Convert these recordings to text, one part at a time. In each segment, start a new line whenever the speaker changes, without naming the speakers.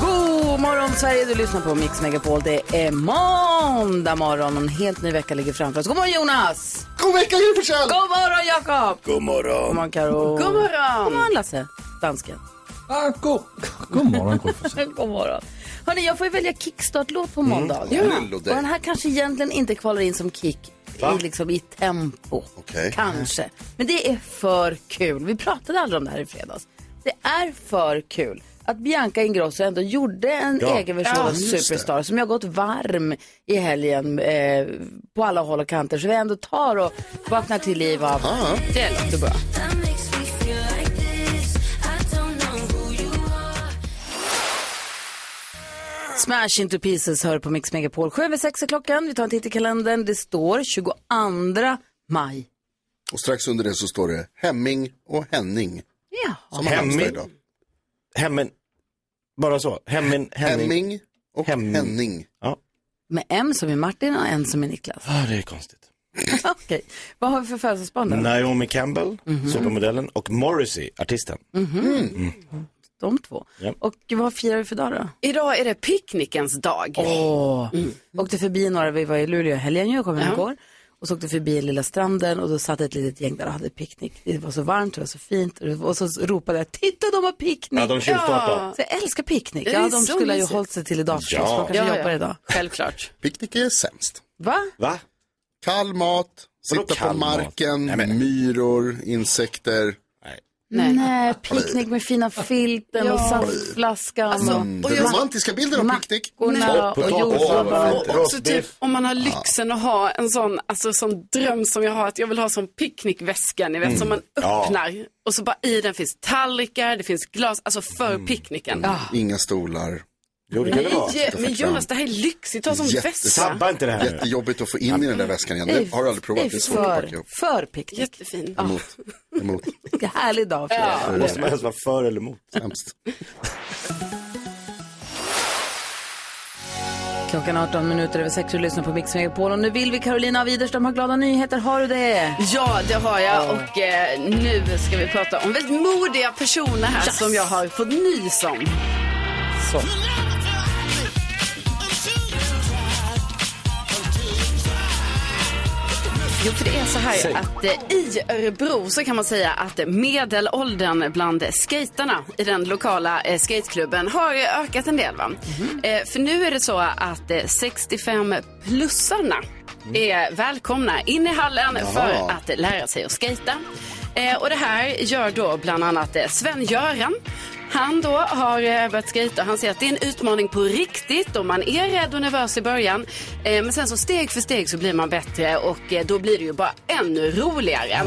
God morgon Sverige, du lyssnar på Mix Megapol. Det är måndag morgon och en helt ny vecka ligger framför oss. God morgon Jonas!
God vecka, Gry Forssell!
God morgon Jakob!
God
God
morgon.
morgon Karo. God morgon! God morgon Lasse, dansken.
Ah, god, god morgon, Gry Forssell.
God morgon. Hörni, jag får ju välja kickstart-låt
Mm.
på måndag.
Kul
Och
och dig.
den här kanske egentligen inte kvalar in som kick i, liksom, i tempo.
Okej.
Kanske. Men det är för kul. Vi pratade aldrig om det här i fredags. Det är för kul att Bianca Ingrosso ändå gjorde en
Ja.
egen version
Ja,
av
just det.
Superstar som jag gått varm i helgen eh, på alla håll och kanter. Så vi ändå tar och vaknar till liv av det låter bra. Smash into pieces hör på Mix Megapol. 7 över 6 är klockan. Vi tar en titt i kalendern. Det står 22 maj.
Och strax under det så står det Hemming och Henning.
Ja.
Som har namnsdag
Hemming?
idag.
Hemmen. Bara så. Hemmen, Henning.
Hemming och
Hemming.
Henning.
Med M som är Martin och N som är Niklas.
Ah, det är konstigt.
Okej. Vad har vi för födelsedagsbarn då?
Naomi Campbell, supermodellen, och Morrissey, artisten.
De två.
Ja.
Och vad firar vi för dag då?
Idag är det picknickens dag. Mm.
Åh, Mm. åkte förbi några, vi var i Luleå i helgen, jag kom hem igår. Och så åkte förbi lilla stranden och då satt ett litet gäng där och hade picknick. Det var så varmt, det var så fint. Och det var- Och så ropade jag, titta de har picknick!
Ja, de tjuvstartar.
Så jag älskar picknick.
Det är
Ja,
så
de skulle ju
mysigt.
hållit sig till idag förstås,
Ja.
de kanske
Ja, ja.
jobbar idag.
Självklart.
Picknick är sämst.
Va?
Va?
Kall mat,
Vadå
sitta på
kall mat?
marken,
Nej, men-
myror, insekter.
Mm.
Nej.
Nej, picknick med fina filten och saftflaskan.
Alltså,
och...
Den romantiska bilden av picknick.
Mackorna och
Potatis.
jordgubbar.
Åh, vad fint.
Och också typ om man har lyxen att ha en sån, alltså sån dröm som jag har, att jag vill ha sån picknickväska, ni vet, som man öppnar och så bara i den finns tallrikar, det finns glas, alltså för picknicken.
Inga stolar.
Jo, det kan det vara.
Nej, men Jonas, det här är lyxigt, ta som
Jätte-
väska.
Sabba inte det här nu.
Jättejobbigt att få in i den där väskan igen. Det har du aldrig provat. Det är svårt att packa
för,
ihop.
för picknick.
Jättefin.
Emot. Emot.
Vilken härlig dag för det.
Måste man ens vara för eller emot?
Sämst.
Klockan är 18 minuter över 6 och lyssnar på Mix Megapol. Och nu vill vi Carolina av Widerström ha glada nyheter. Har du det?
Ja, det har jag och eh, nu ska vi prata om väldigt modiga personer här som jag har fått nys om. Jo, för det är så här ju att eh, i Örebro så kan man säga att eh, medelåldern bland skaterna i den lokala eh, skateklubben har eh, ökat en del. Va? Eh, för nu är det så att eh, 65-plussarna är välkomna in i hallen för att eh, lära sig att skata. Eh, och det här gör då bland annat eh, Sven-Göran. Han då har eh, börjat skejta och han säger att det är en utmaning på riktigt och man är rädd och nervös i början. Eh, Men sen så steg för steg så blir man bättre och eh, då blir det ju bara ännu roligare.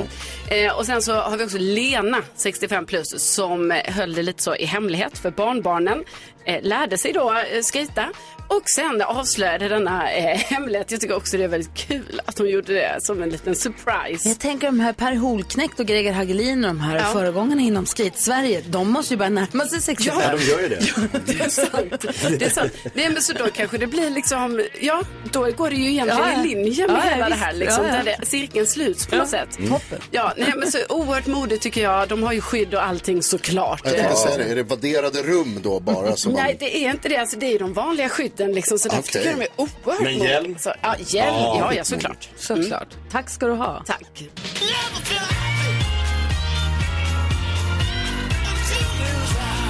Eh, Och sen så har vi också Lena, 65 plus, som eh, höll det lite så i hemlighet för barnbarnen. Eh, Lärde sig då eh, skejta och sen avslöjade denna eh, hemlighet. Jag tycker också det är väldigt kul att hon gjorde det som en liten surprise.
Jag tänker de här Per Holknekt och Greger Hagelin och de här
Ja.
föregångarna inom skate-Sverige. De måste ju börja närma sig 65.
Ja, de gör ju det.
Det är sant. Det är sant. Nej, men så då kanske det blir liksom, ja, då går det ju egentligen
Ja, ja.
i linje med
Ja, ja,
hela det
visst.
här, liksom,
Ja, ja.
där det, cirkeln sluts på något sätt.
Mm.
Toppen.
Ja, nej, men så oerhört modigt tycker jag. De har ju skydd och allting såklart.
Jag tänkte säga det. Är det vadderade rum då bara? Som man...
Nej, det är inte det. Alltså, det är ju de vanliga skydden liksom, så därför
Okej.
tycker jag de är oerhört
Men
modiga.
hjälm?
Så, ja, hjälm.
Ja.
Ja, ja, såklart.
Såklart. Mm. Tack ska du ha.
Tack.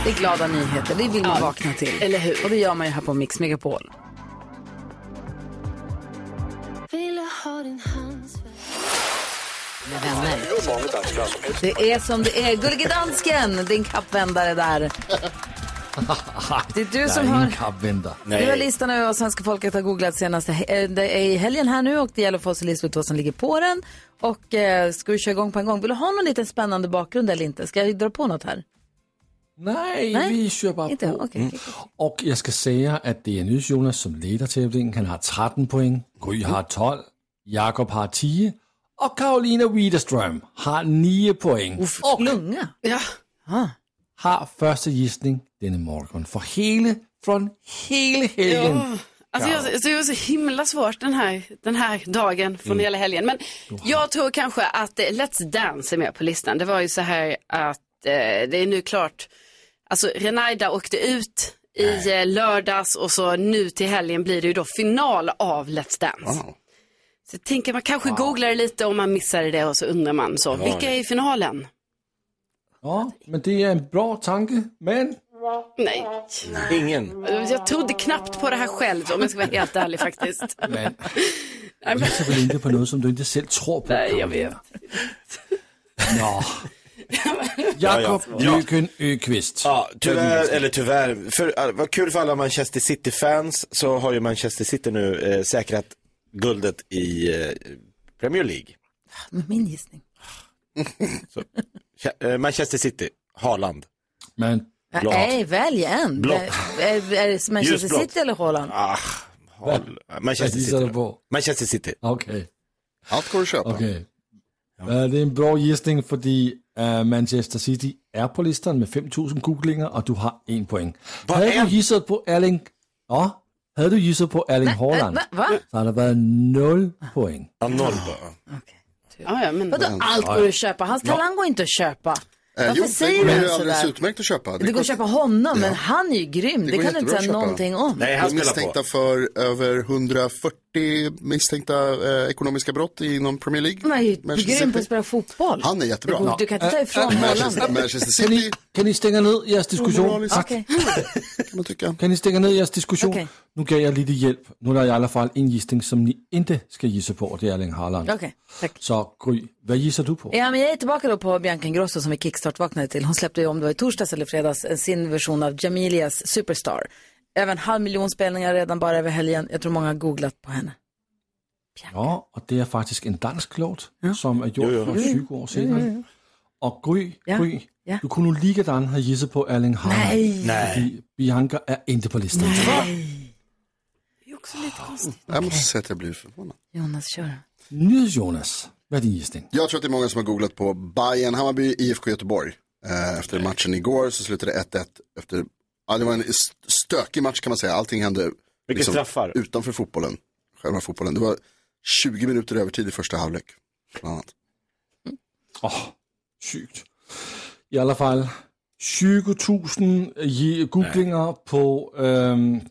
Det är glada nyheter. Det vill man vakna till.
Eller hur?
Och det gör man ju här på Mix Megapol.
Med vänner.
Det är som det är. Gullige dansken, din kappvändare där. Det är du som har... Du har
Nej.
listan över vad svenska folket har googlat senaste he- eh, det är i helgen här nu och det gäller för oss att lista ut vad som ligger på den. Och eh, ska vi köra igång på en gång? Vill du ha någon liten spännande bakgrund eller inte? Ska jag dra på något här?
Nej,
Nej,
vi kör bara
Inte?
på.
Okej. okej, okej.
Och jag ska säga att det är Nyhets Jonas som leder tävlingen. Han har 13 poäng, Gry har 12, Jakob har 10 och Karolina Widerström har 9 poäng. Och
Lunga.
Ja.
har Ah, första gissning denna morgon för hela, från hela helgen.
Ja. Alltså jag, så det var så himla svårt den här, den här dagen från
Mm.
hela helgen. Men jag tror kanske att eh, Let's Dance är med på listan. Det var ju så här att eh, det är nu klart. Alltså Renaida åkte ut i eh, lördags och så nu till helgen blir det ju då final av Let's Dance.
Wow.
Så jag tänker man kanske googlar det lite om man missade det och så undrar man så. Vilka är i finalen?
Ja, men det är en bra tanke, men
Nej,
Ingen.
jag trodde knappt på det här själv om jag ska vara helt ärlig faktiskt.
Men gissa väl inte på något som du inte själv tror på. Nej, jag vet. Nå. Jakob
Ja.
Jöken Öqvist.
Ja, tyvärr, eller tyvärr, för, äh, vad kul för alla Manchester City-fans så har ju Manchester City nu eh, säkrat guldet i eh, Premier League.
Med min gissning.
Kä- eh, Manchester City, Haaland.
Men
Blått.
Nej, välj en.
Blått.
Är, är det Manchester
Ljusblått.
City eller Holland?
Ah, Haal- Manchester
Vad gissar
City.
du på? Ah,
Manchester City.
okej,
Allt går att köpa.
okej. Eh, Det är en bra gissning för eh, Manchester City är på listan med 5000 googlingar och du har en poäng.
Vad
Hade
är-
du gissat på Erling, ja, hade du gissat på Erling Haaland
Va? Äh, va?
så hade det varit noll poäng.
Ja, noll bara.
Ja, ja, men...
Vadå allt går att köpa? Hans talang går inte att köpa.
Eh,
Varför
jo,
säger
det
du
är ju
ens
alldeles
sådär?
utmärkt att köpa.
Det går att köpa honom, men han är ju grym. Det,
Det går
kan du inte säga
jättebra att köpa.
någonting om.
Nej,
Jag
han
är
spelar
misstänkta
på.
för över 140 misstänkta eh, ekonomiska brott inom Premier League.
Han är ju
Manchester
grym på att
City.
spela fotboll.
Han är
Det
jättebra.
går, du kan inte ta ifrån honom.
Manchester, Manchester
Kan ni,
City,
kan ni stänga ner jeres diskussion?
omoraliskt
Okej.
kan man tycka.
Kan ni stänga ner jeres diskussion?
Okej.
Nu gav jag lite hjälp. Nu har jag i alla fall en gissning som ni inte ska gissa på och det är Erling Haaland.
Okej, tack.
Så Gry, vad gissar du på?
Ja, men jag är tillbaka då på Bianca Ingrosso som vi kickstart-vaknade till. Hon släppte ju, om det var i torsdags eller fredags, en- sin version av Jamilias Superstar. Även halv miljon spelningar redan bara över helgen. Jag tror många har googlat på henne.
Ja, och det är faktiskt en dansk låt som är gjord för 20 år sedan. Och Gry,
Ja,
Gry
ja.
du kunde likadan ha gissat på Erling Haaland.
Nej.
Fordi Bianca är inte på listan.
Jag måste säga att jag blir förvånad.
Jonas, kör.
Nu Jonas, vad är din gissning?
Jag tror att det är många som har googlat på Bayern Hammarby IFK Göteborg. Eh, Efter matchen igår så slutade det 1-1. Efter, ja, det var en st- stökig match kan man säga. Allting hände
straffar?
utanför fotbollen. Själva fotbollen. Det var 20 minuter övertid i första halvlek. Bland annat.
Åh, sygt. I alla fall 20 000 ge- googlingar på øhm,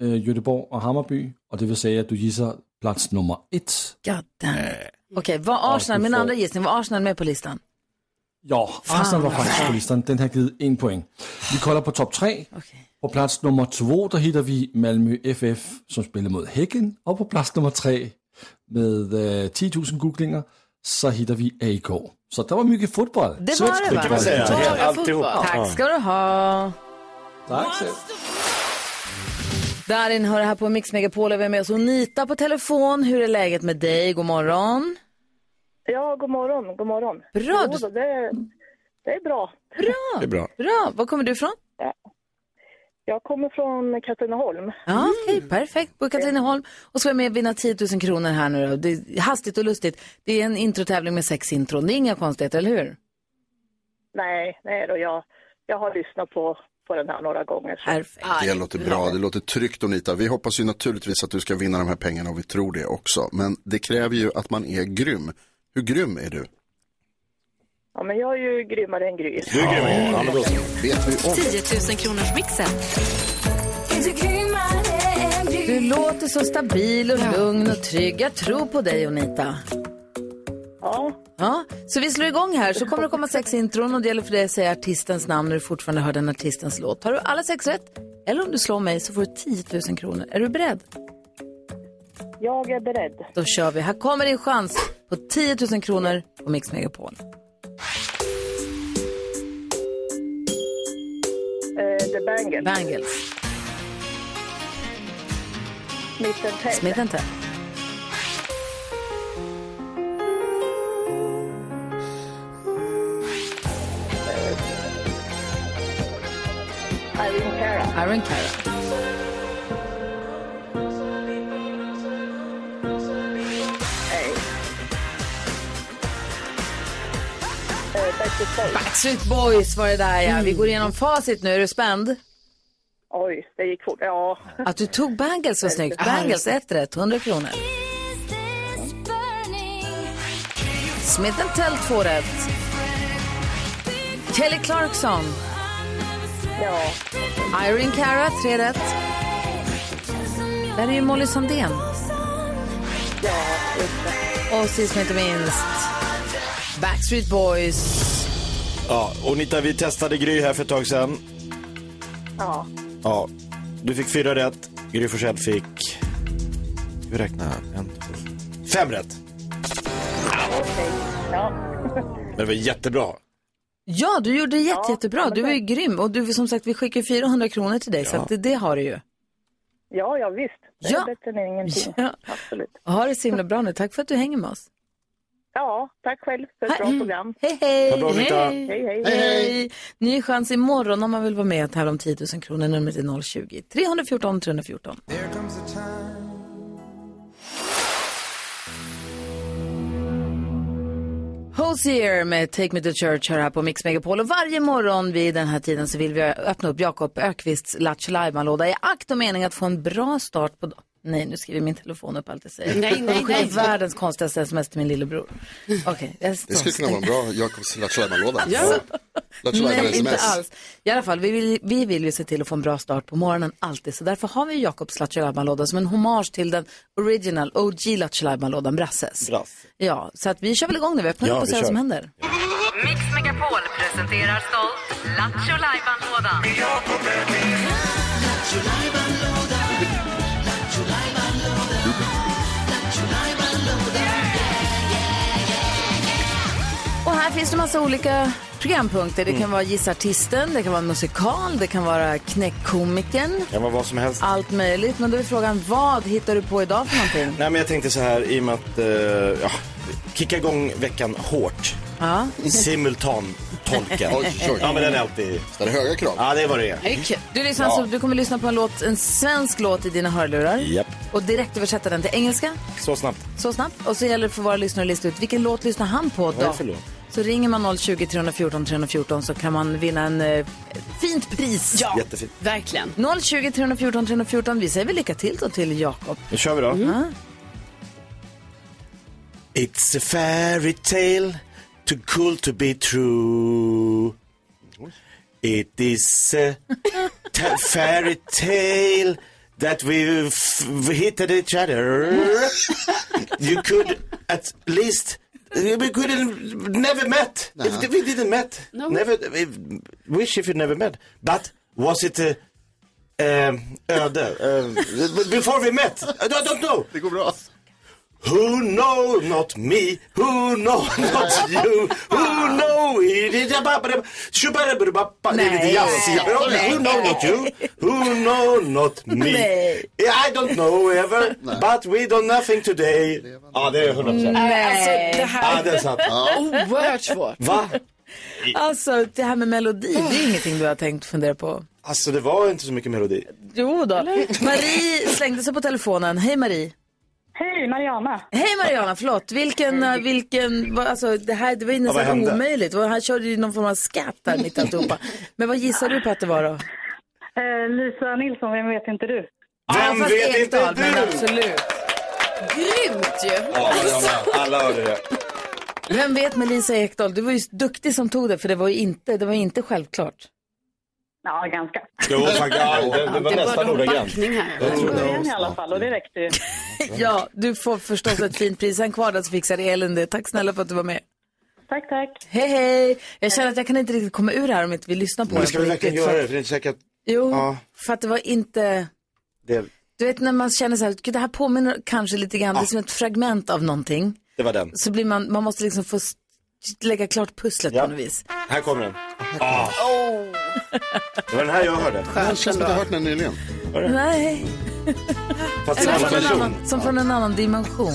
øh, Göteborg och Hammarby. Och det vill säga att du gissar plats nummer ett.
God damn. Okej, var Arsenal,
Ja,
min
du får-
andra gissning, var Arsenal med på listan?
Ja, Arsenal var faktiskt på listan. Den har givit en poäng. Vi kollar på topp tre.
Okej.
På plats nummer två där hittar vi Malmö FF som spelar mot Häcken. Och på plats nummer tre med eh, 10 000 googlingar så hittar vi AIK. Så det var mycket fotboll.
Det
Svensk
var det,
fotboll.
va?
Kan man säga.
Ja,
Helt-
ja,
Alltihop.
fotboll.
Tack ska du ha.
Tack så mycket.
Darin hör det här på Mix Megapol och vi har med oss Onita på telefon. Hur är läget med dig? God morgon.
Ja, god morgon, god morgon.
Bra,
Jo,
du-
då, det, det är bra.
Bra,
Det är bra.
bra. Var kommer du ifrån?
Jag kommer från Katrineholm.
Ja, okej, perfekt. På Katrineholm. Mm. Och så är jag med och vinna 10 000 kronor här nu då. Det är hastigt och lustigt. Det är en introtävling med sex intron. Det är inga konstigheter, eller hur?
Nej, nej då, jag, jag har lyssnat på, på den här några gånger.
Äh.
Så.
Perfekt.
Det låter bra, det låter tryggt Onita. Vi hoppas ju naturligtvis att du ska vinna de här pengarna och vi tror det också. Men det kräver ju att man är grym. Hur grym är du?
Ja, men jag är ju grymmare än Gry.
Du är grym. Ja, men då så.
Vet vi om?
10 000 kronors mixen.
Du låter så stabil och lugn och trygg. Jag tror på dig, Onita.
Ja,
Ja, så vi slår igång här. Så kommer det komma sex intron och det gäller för dig att säga artistens namn när du fortfarande hör den artistens låt. Har du alla sex rätt, eller om du slår mig, så får du 10 000 kronor. Är du beredd?
jag är beredd.
Då kör vi. Här kommer din chans på 10 000 kronor på Mix Megapol.
Eh, The Bangles,
Bangles,
Smith and Tell,
Smith Tell.
Uh,
Sharon Carey. Backstreet Boys var det där ja. Vi går igenom facit nu. Är du spänd?
Oj, det gick fort. Ja.
Att du tog Bangles var snyggt. Bangles, ett rätt. 100 kronor. Smith Tell, två rätt. Kelly Clarkson.
Ja.
Irene Cara, tre rätt. Där är ju Molly Sandén. Och sist men inte minst, Backstreet Boys.
Ja, och Nita, vi testade Gry här för ett tag sedan.
Ja.
Ja, du fick fyra rätt. Gry Forssell fick... Ska vi räkna? En, två, fem rätt. Men det var jättebra.
Ja, du gjorde jätte, jättebra. Du är ju grym. Och du, som sagt, vi skickar 400 kronor till dig, så att det, det har du ju.
Ja, ja visst. Det är
Ja.
bättre än ingenting.
Ja.
Absolut.
Ha det så himla bra nu. Tack för att du hänger med oss.
Ja, tack själv för ett bra
Mm.
program.
Hej, hej!
Ha bra, Anita.
Hej, hej.
Hej, hej! Ny chans imorgon om man vill vara med och tävla om 10 000 kronor. Numret är 020 314 314. Hosier med Take Me To Church hör här på Mix Megapol. Och varje morgon vid den här tiden så vill vi öppna upp Jakob Ökvists Lattjo Lajban-låda i akt och mening att få en bra start på dagen. Nej, nu skriver min telefon upp allt jag säger.
Nej, nej,
Jag skickar
nej.
Världens konstigaste sms till min lillebror. Okej, jag
Det skulle kunna vara en bra Jakobs Lattjo-Lajban-låda.
Ja.
Lattjo Lajban
Nej, inte
sms.
alls. I alla fall, vi vill, vi vill ju se till att få en bra start på morgonen alltid. Så därför har vi ju Jakobs Lattjo som en hommage till den original OG Lattjo lådan Brasses.
Brasse.
Ja, så att vi kör väl igång nu. Vi öppnar
Ja,
upp och
vi
ser vad
kör.
som händer.
Mix Megapol presenterar stolt Lattjo Lajban-lådan.
Och här finns det massa olika programpunkter. Det
Mm.
kan vara Gissa Artisten, det kan vara en musikal, det kan vara Knäckkomikern.
Det var vad som helst.
Allt möjligt. Men då är frågan, vad hittar du på idag för någonting?
Nej, men jag tänkte så här i och med att... Eh, ja, kicka igång veckan hårt.
Ja.
Simultantolken.
Oj, oj, oj.
Ja, men den är alltid...
Det är höga krav.
Ja, det var det är.
Det är kul.
Du, lyssnar, alltså, du kommer lyssna på en, låt, en svensk låt i dina hörlurar.
Japp.
Och direkt översätta den till engelska.
Så snabbt.
så snabbt. Och så gäller det för våra lyssnare att lista ut vilken låt lyssnar han på
är det
då?
för låt?
Så ringer man 020 314 314 så kan man vinna en eh, fint pris.
Ja,
Jättefint.
verkligen.
020 314 314. Vi säger väl lycka till då till Jakob.
Nu kör vi då. It's a fairy tale too cool to be true. It is a ta- fairy tale that we f- hitted each other. You could at least we could have never met. If we didn't met, never if, wish if you never met. But was it a um, öde? Um, before we met, I don't, don't know.
Det går bra.
Who know not me? Who know not you? Who know it? Det är lite jazzigt. Who know not you? Who know not me? I don't know ever, but we do nothing today. Ja, det är 100 procent.
Mm,
Alltså, det här
Ja, det är sant.
är oerhört svårt.
Va?
Alltså det här med melodi, det är ingenting du har tänkt fundera på.
Alltså, det var inte så mycket melodi.
Jo då. Marie slängde sig på telefonen. Hej Marie.
Hej, Mariana.
Hej Mariana, förlåt. Vilken, eh, vilken, vad- alltså det här det var ju
vad
nästan
hände?
omöjligt. Och Han körde ju någon form av skatt där mitt i alltihopa. Men vad gissar du på att det var då?
Eh, Lisa Nilsson, vem vet inte du?
Vem
fast
vet inte
Ekdal,
du?
Men absolut.
Grymt ju.
Ja, jag med. Alla hörde det.
Vem vet med Lisa Ekdahl, du var ju duktig som tog det för det var ju inte, det var ju inte självklart.
Ja, ganska.
Jo, faktiskt. Ja, det, det var nästan ordagrant.
Backning här.
I början i alla fall, och det räckte ju.
Ja, du får förstås ett fint pris. Sen kvar där så fixar Elin det. Tack snälla för att du var med.
Tack, tack.
Hej hej! Jag känner att jag kan inte riktigt komma ur det här om inte vi lyssnar på
Men
den
ska
på
vi verkligen
riktigt, för
göra det?
att-
För det är inte säkert att
Jo,
Ja.
för att det var inte...
det,
Du vet när man känner så här, "Gud, det här påminner kanske lite grann, det är som ett fragment av någonting.
det var den.
Så blir man, man måste liksom få s- lägga klart pusslet
Ja.
på något vis.
Här kommer den. Ah.
Oh.
Det var den här jag hörde.
Det känns som att jag har hört den nyligen.
Nej,
Fast i en
eller
annan
från en
version.
annan, som från en annan dimension.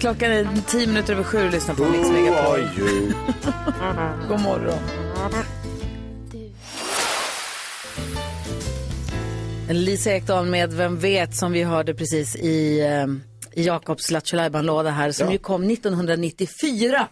Klockan är tio minuter över sju och lyssnar på Mix Megapol.
Oj, oj.
God morgon. Lisa Ekdahl med Vem vet som vi hörde precis i, eh, i Jakobs Lattjo låda här som
Ja.
ju kom 1994.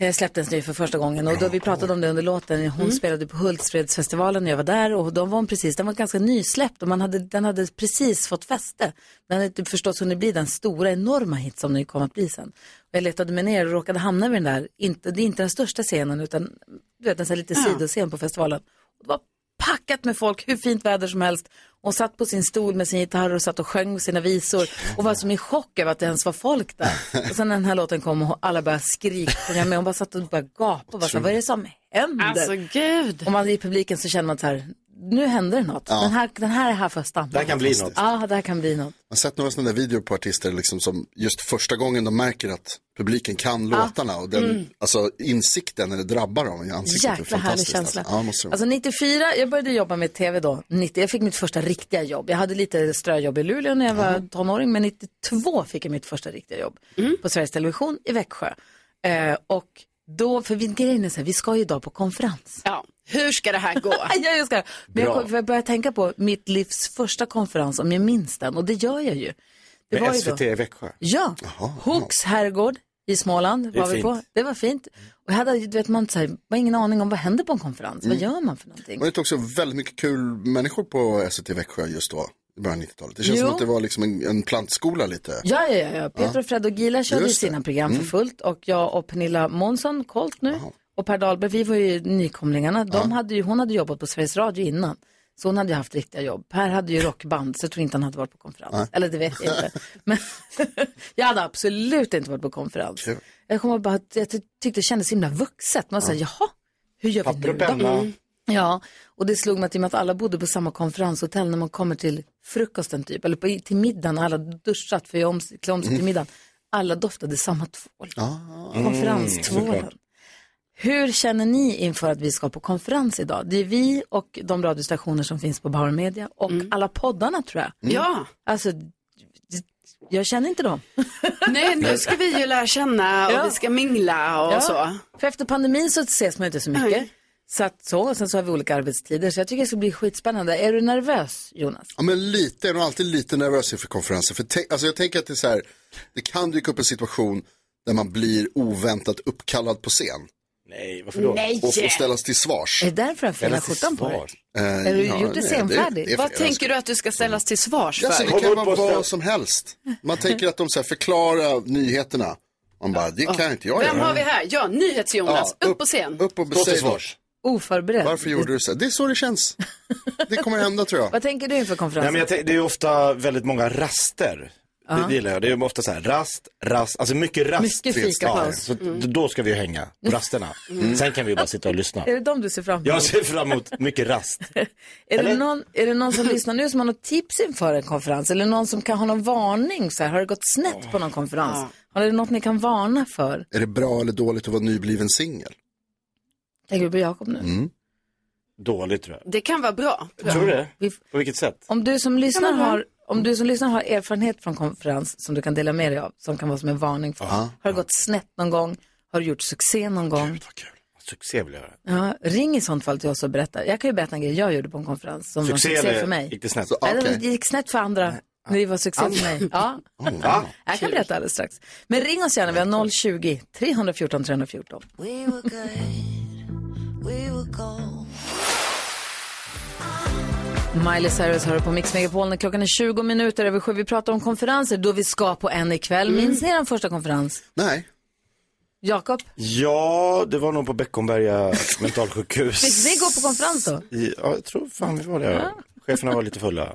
Eh, släpptes nu för första gången och då vi pratade om det under låten. Hon spelade på Hultsfredsfestivalen när jag var där och de var precis, den var ganska nysläppt och man hade, den hade precis fått fäste. Den hade inte förstås hunnit bli den stora enorma hit som den kom att bli sen. Och jag letade mig ner och råkade hamna vid den där, inte, det är inte den största scenen utan du vet en sån här lite
Ja.
sidoscen på festivalen. Och det var packat med folk, hur fint väder som helst. Och satt på sin stol med sin gitarr och satt och sjöng sina visor. Och var som i chock över att det ens var folk där. Och sen när den här låten kom och alla började skrika med. Hon bara satt och bara gapade. Och bara så här, vad är det som händer?
Alltså,
gud. Och man i publiken så känner man så här, nu händer det något.
Ja.
Den, här, den här är här för att stanna.
Det här kan bli något.
Ja, det här kan bli något.
Jag har sett några sådana där videor på artister liksom som just första gången de märker att publiken kan
Ja.
låtarna och den,
Mm.
alltså insikten när det drabbar dem i ansiktet. är
Jäkla härlig
fantastiskt,
känsla.
Alltså. Ja, måste det vara.
Alltså 94, jag började jobba med tv då. 90, jag fick mitt första riktiga jobb. Jag hade lite ströjobb i Luleå när jag
Mm.
var tonåring, men 92 fick jag mitt första riktiga jobb på Sveriges Television i Växjö. Eh, och då, för vi, grejen är så här, vi ska ju idag på konferens.
Ja, hur ska det här gå?
Mm.
ja, jag ska. Men jag,
Bra.
kom- för jag började tänka på mitt livs första konferens, om jag minns den, och det gör jag ju. Det
Med
var ju
SVT
då-
i Växjö.
Ja, Hooks herrgård i Småland
Det är
var vi på.
fint.
Det var fint. Och jag hade, du vet, man så här, man har ingen aning om vad händer på en konferens. Vad
Mm.
gör man för någonting?
Var det inte också väldigt mycket kul människor på SVT Växjö just då? I början av 90-talet. Det känns
Jo.
som att det var liksom en, en plantskola lite.
Ja, ja, ja. ja. Peter och Fred och Gila körde
Just det.
sina program för
Mm.
fullt och jag och Pernilla Månsson, Colt nu, och Per Dahlberg, vi var ju nykomlingarna. De hade ju, hon hade jobbat på Sveriges Radio innan, så hon hade ju haft riktiga jobb. Per hade ju rockband, så jag tror inte han hade varit på konferens.
Nej.
Eller det vet jag inte. Men jag hade absolut inte varit på konferens.
Kul.
Jag kommer bara att jag ty- tyckte det kändes så himla vuxet. Man säger, jaha, hur gör vi
Papper och
nu då?
penna.
Mm. Ja, och det slog mig att i och med att alla bodde på samma konferenshotell när man kommer till frukosten typ, eller på, till middagen, alla duschat för jag om, klä om sig till
Mm.
middagen. Alla doftade samma tvål.
Mm,
Konferenstvålen.
såklart.
Hur känner ni inför att vi ska på konferens idag? Det är vi och de radiostationer som finns på Bauer Media och alla poddarna tror jag.
Mm. Ja.
Alltså, jag känner inte dem.
Nej, nu ska vi ju lära känna och
Ja.
vi ska mingla och
Ja,
så.
För efter pandemin så ses man ju inte så mycket. Så att så, och sen så har vi olika arbetstider. Så jag tycker det ska bli skitspännande. Är du nervös, Jonas?
Ja, men lite. Jag är nog alltid lite nervös inför konferenser. För tänk, alltså jag tänker att det är så här, det kan dyka upp en situation där man blir oväntat uppkallad på scen.
Nej,
varför då? Nej!
Och får ställas till svars. Eh,
Är det därför han fäller skjortan på dig? Är du gjort det senfärdig?
Vad
alltså.
tänker du att du ska ställas till svars för?
Ja, så det kan vara vad som helst. Man tänker att de så här förklarar nyheterna. Man bara, det kan inte jag
Vem
göra.
har vi här? Ja, NyhetsJonas.
Ja,
upp på scen.
Upp och beställ.
Oförberedd.
Varför gjorde du så? Det är så det känns. Det kommer hända tror jag.
Vad tänker du inför
Nej,
konferensen?
men jag tänk, det är ju ofta väldigt många raster. Det,
Ja.
det gillar jag. Det är ju ofta så här rast, rast, alltså mycket rast.
Mycket fikapaus.
Ja, Så att
Mm.
då ska vi ju hänga på rasterna.
Mm.
Sen kan vi ju bara sitta och lyssna.
Är det dem du ser fram emot?
Jag ser fram emot mycket rast.
Är det, någon, är det någon som lyssnar nu som har något tips inför en konferens? Eller någon som kan ha någon varning? Så här, har det gått snett på någon konferens? Har det något ni kan varna för?
Är det bra eller dåligt att vara nybliven singel?
Tänker du på Jakob nu?
Mm.
Dåligt tror
Det kan vara bra.
Tror du det? På vilket sätt?
Om du som lyssnar,
Ja, men bra.
har, om du som lyssnar har erfarenhet från konferens som du kan dela med dig av, som kan vara som en varning för.
Aha.
har det gått snett någon gång? Har du gjort succé någon gång?
Succé vill jag höra.
Ja, ring i sånt fall till oss och berätta. Jag kan ju berätta en grej jag gjorde på en konferens som var succé
eller
för mig.
gick det snett?
Nej, Det gick snett för andra, men det var succé
Andra?
för mig. Ja.
Va?
Jag kan berätta alldeles strax. Men ring oss gärna, vi har 020-314 314.
We were good, we were gold.
Miley Cyrus hör på Mix Megapol när klockan är 20 minuter över sju. Vi pratar om konferenser då vi ska på en ikväll.
Mm.
Minns ni er första konferens?
Nej.
Jakob,
Ja, det var nog på Beckomberga mentalsjukhus.
fick ni gå på konferens då?
I- Ja, jag tror fan det var det. Cheferna var lite fulla. Det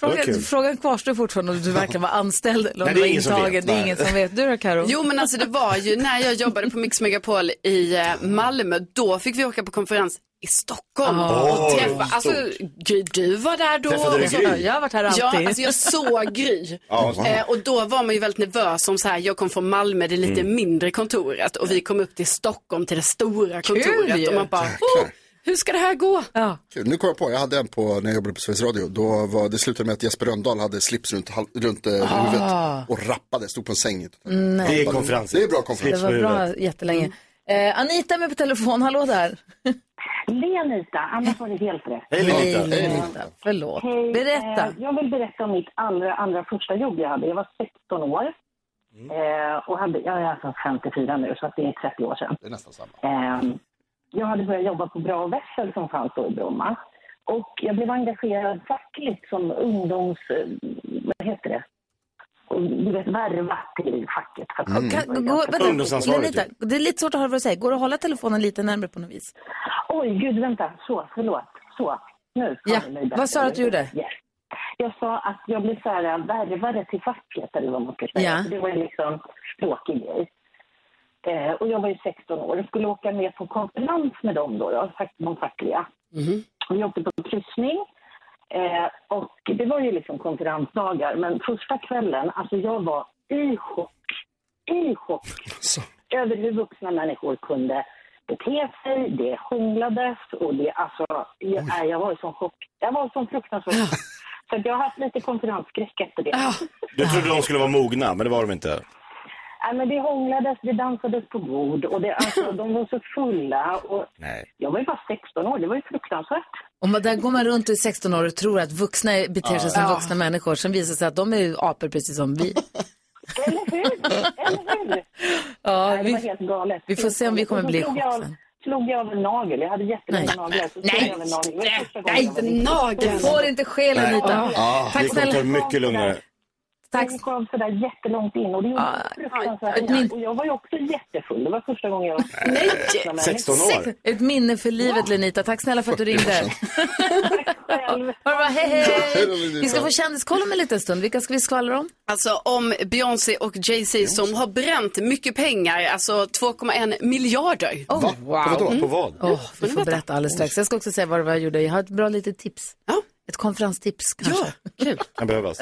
var
Frågan,
kul.
frågan kvarstår fortfarande om du verkligen var anställd eller om du
Nej, det
var
är ingen som vet.
intagen. Det är
Nej.
ingen som vet. Du då Karo?
Jo men alltså det var ju när jag jobbade på Mix Megapol i eh, Malmö, då fick vi åka på konferens i Stockholm
Ah.
och träffa,
Oj,
alltså
stort.
Gry du var där då.
Träffade du
och så-
Gry? Jag har varit här alltid.
Ja, alltså jag såg Gry.
Ja, wow.
eh, och då var man ju väldigt nervös om så här, jag kom från Malmö, det är lite
Mm.
mindre kontoret och vi kom upp till Stockholm till det stora
Kul
kontoret
ju.
och man bara, oh, hur ska det här gå?
Ja.
Kul. Nu kom jag på, jag hade en på när jag jobbade på Sveriges Radio. Då var, det slutade med att Jesper Rönndahl hade slips runt, hal- runt eh,
Ah.
huvudet och rappade, stod på en säng. i ett hotell.
Nej. Det är
Rappade.
konferens.
Det är bra konferens.
Det var bra jättelänge.
Mm.
Eh, Anita är med på telefon, hallå där.
Lenita, annars var det helt rätt.
Hej, Lenita. Hej, Lenita. Förlåt.
Hej,
Berätta.
eh, jag vill berätta om mitt allra, allra första jobb jag hade. Jag var 16 år. Eh, och hade, jag är alltså 54 nu, så att det är 30 år sedan.
Det är nästan samma.
Ehm, jag hade börjat jobba på Bra Vässel som fanns då i Bromma. Och jag blev engagerad fackligt som ungdoms... eh, Vad heter det? Och, Du vet, värva till facket. För att-
Kan, gå, vänta, Lenita, det är lite svårt att höra vad du säger. Går det att hålla telefonen lite närmare på något vis?
Oj, gud, vänta. Så, förlåt. Så, nu.
Ja,
hör ni mig bättre.
vad sa du att du gjorde?
Yes. Jag sa att jag blev så här värvare till facket eller vad man ska säga.
Ja.
Så Det var ju liksom tråkig grej. Eh, och jag var ju 16 år och skulle åka med på konferens med dem då, då fack- de fackliga. Vi åkte på kryssning. Eh, och det var ju liksom konferensdagar, men första kvällen, alltså jag var i chock. I chock över hur vuxna människor kunde bete sig, det hånglades och det alltså, jag, nej, jag var i sån chock. Jag var i sån fruktansvärd chock. Så att jag har haft lite konferensskräck efter det.
Ah.
Du trodde de skulle vara mogna, men det var de inte.
Nej, Äh, men det hånglades, det dansades på bord och det, alltså, de var så fulla. Och
Nej.
jag var ju bara 16 år, det var ju fruktansvärt.
Om man, där går man runt och är 16 år och tror att vuxna är- beter
Ja.
sig som
Ja.
vuxna människor. Sen visar det sig att de är ju apor precis som vi. Ja,
Nej, det var
vi-
helt galet.
vi får se om vi kommer
Och så
bli
slog
chock
jag-
sen.
slog jag av en nagel. Jag hade jättelånga
Nej.
naglar. Så slog
Nej.
jag av en nagel. Det var första gången
Nej,
jag var riktigt-
Du får inte skäl
Nej.
Anita.
Ja,
Tack
det kommer ta
snälla.
mycket lugnare.
Tack.
Den kom sådär jättelångt in och det gjorde fruktansvärt ont. Och jag var ju också jättefull. Det var första gången jag var Nej.
16 år.
Ett minne för livet Lenita. Tack snälla för att du ringde. Ha det bra, hej hej. Vi ska få kändiskoll om en liten stund. Vilka ska vi skvallra om?
Alltså om Beyoncé och Jay-Z som har bränt mycket pengar, alltså 2,1 miljarder.
Oh, Va? wow. På vadå? På
vad?
Åh, vi får berätta alldeles strax. Jag ska också säga vad det var jag gjorde. Jag har ett bra litet tips. Ett konferenstips kanske.
Kan behövas.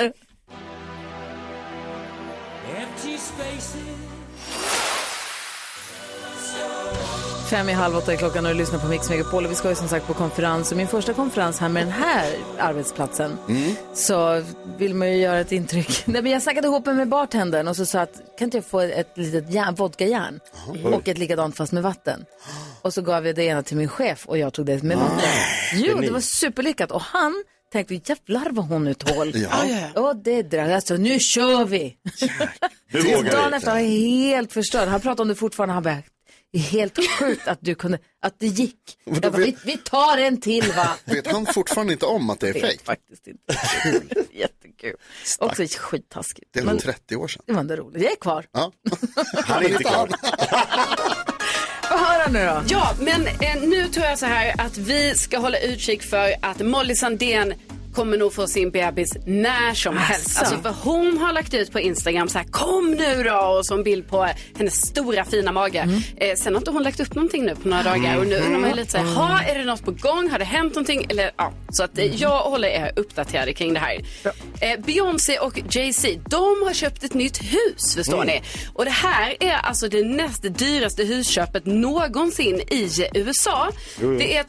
Fem i halv åtta är klockan och du lyssnar på Mix Megapol. Och vi ska ju som sagt på konferens. Och min första konferens här med den här arbetsplatsen
Mm.
så vill man ju göra ett intryck. Nej, men jag snackade ihop mig med bartendern och så sa att kan inte jag få ett litet järn, vodkajärn
Oj.
och ett likadant fast med vatten. Och så gav jag det ena till min chef och jag tog det med vatten. Jo,
Ah, geni.
det var superlyckat och han tänkte jävlar vad hon nu tål.
Ja.
Ah, Ja, ja, ja. Och det drack, alltså nu kör vi.
Nu
Dagen
vågar
efter var jag helt förstörd. Han pratar om det fortfarande. Han bara, det är helt sjukt att du kunde, att det gick. Jag bara, vi, vi tar en till va.
Vet han fortfarande inte om att det är
Vet
fejk?
faktiskt inte. Jättekul. Också skittaskigt.
Det är
Men-
väl 30 år sedan.
Det var ändå roligt. Jag är kvar.
Ja.
Han är inte klar.
Få höra nu då.
Ja, men eh, nu tror jag så här att vi ska hålla utkik för att Molly Sandén kommer nog få sin bebis när som helst.
Asså.
Alltså för hon har lagt ut på Instagram så här kom nu då och som bild på hennes stora fina mage.
Mm.
Eh, sen har inte hon lagt upp någonting nu på några dagar och nu undrar man ju lite så här, ha
Mm.
är det något på gång? Har det hänt någonting? Eller, ja. Så att eh, jag håller er uppdaterade kring det här. Eh, Beyoncé och Jay-Z, de har köpt ett nytt hus förstår
Mm.
ni. Och det här är alltså det näst dyraste husköpet någonsin i USA.
Jo, jo.
Det är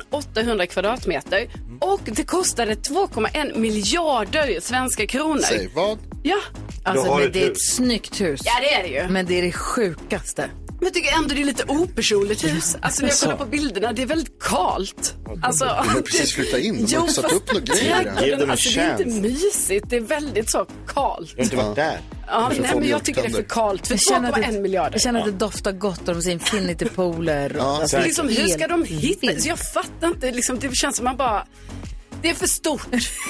2800 kvadratmeter
Mm.
och det kostade 2,1 miljarder svenska kronor.
Säg
vad?
Ja.
Alltså, men det är ett snyggt hus.
Ja, det är det ju.
Men det är det sjukaste.
Men jag tycker ändå det är lite opersonligt hus. Alltså när jag kollar på bilderna, det är väldigt kalt. Alltså,
De har precis flyttat in, de har inte satt
fast
upp några grejer än.
trädgården,
Ge dem en
alltså, det är inte
chans.
mysigt, det är väldigt så kalt.
Jag har inte varit där.
Ja,
Kanske
nej,
får
men jag
mjölktänder.
tycker det är för kallt. För
Jag känner att det-
2,1 miljarder.
Jag känner att det doftar gott och de säger infinity pooler. och-
Alltså,
det är
liksom, hur
helt
ska de hitta?
vilt.
Så jag fattar inte. Liksom, det känns som man bara... Det är för stort.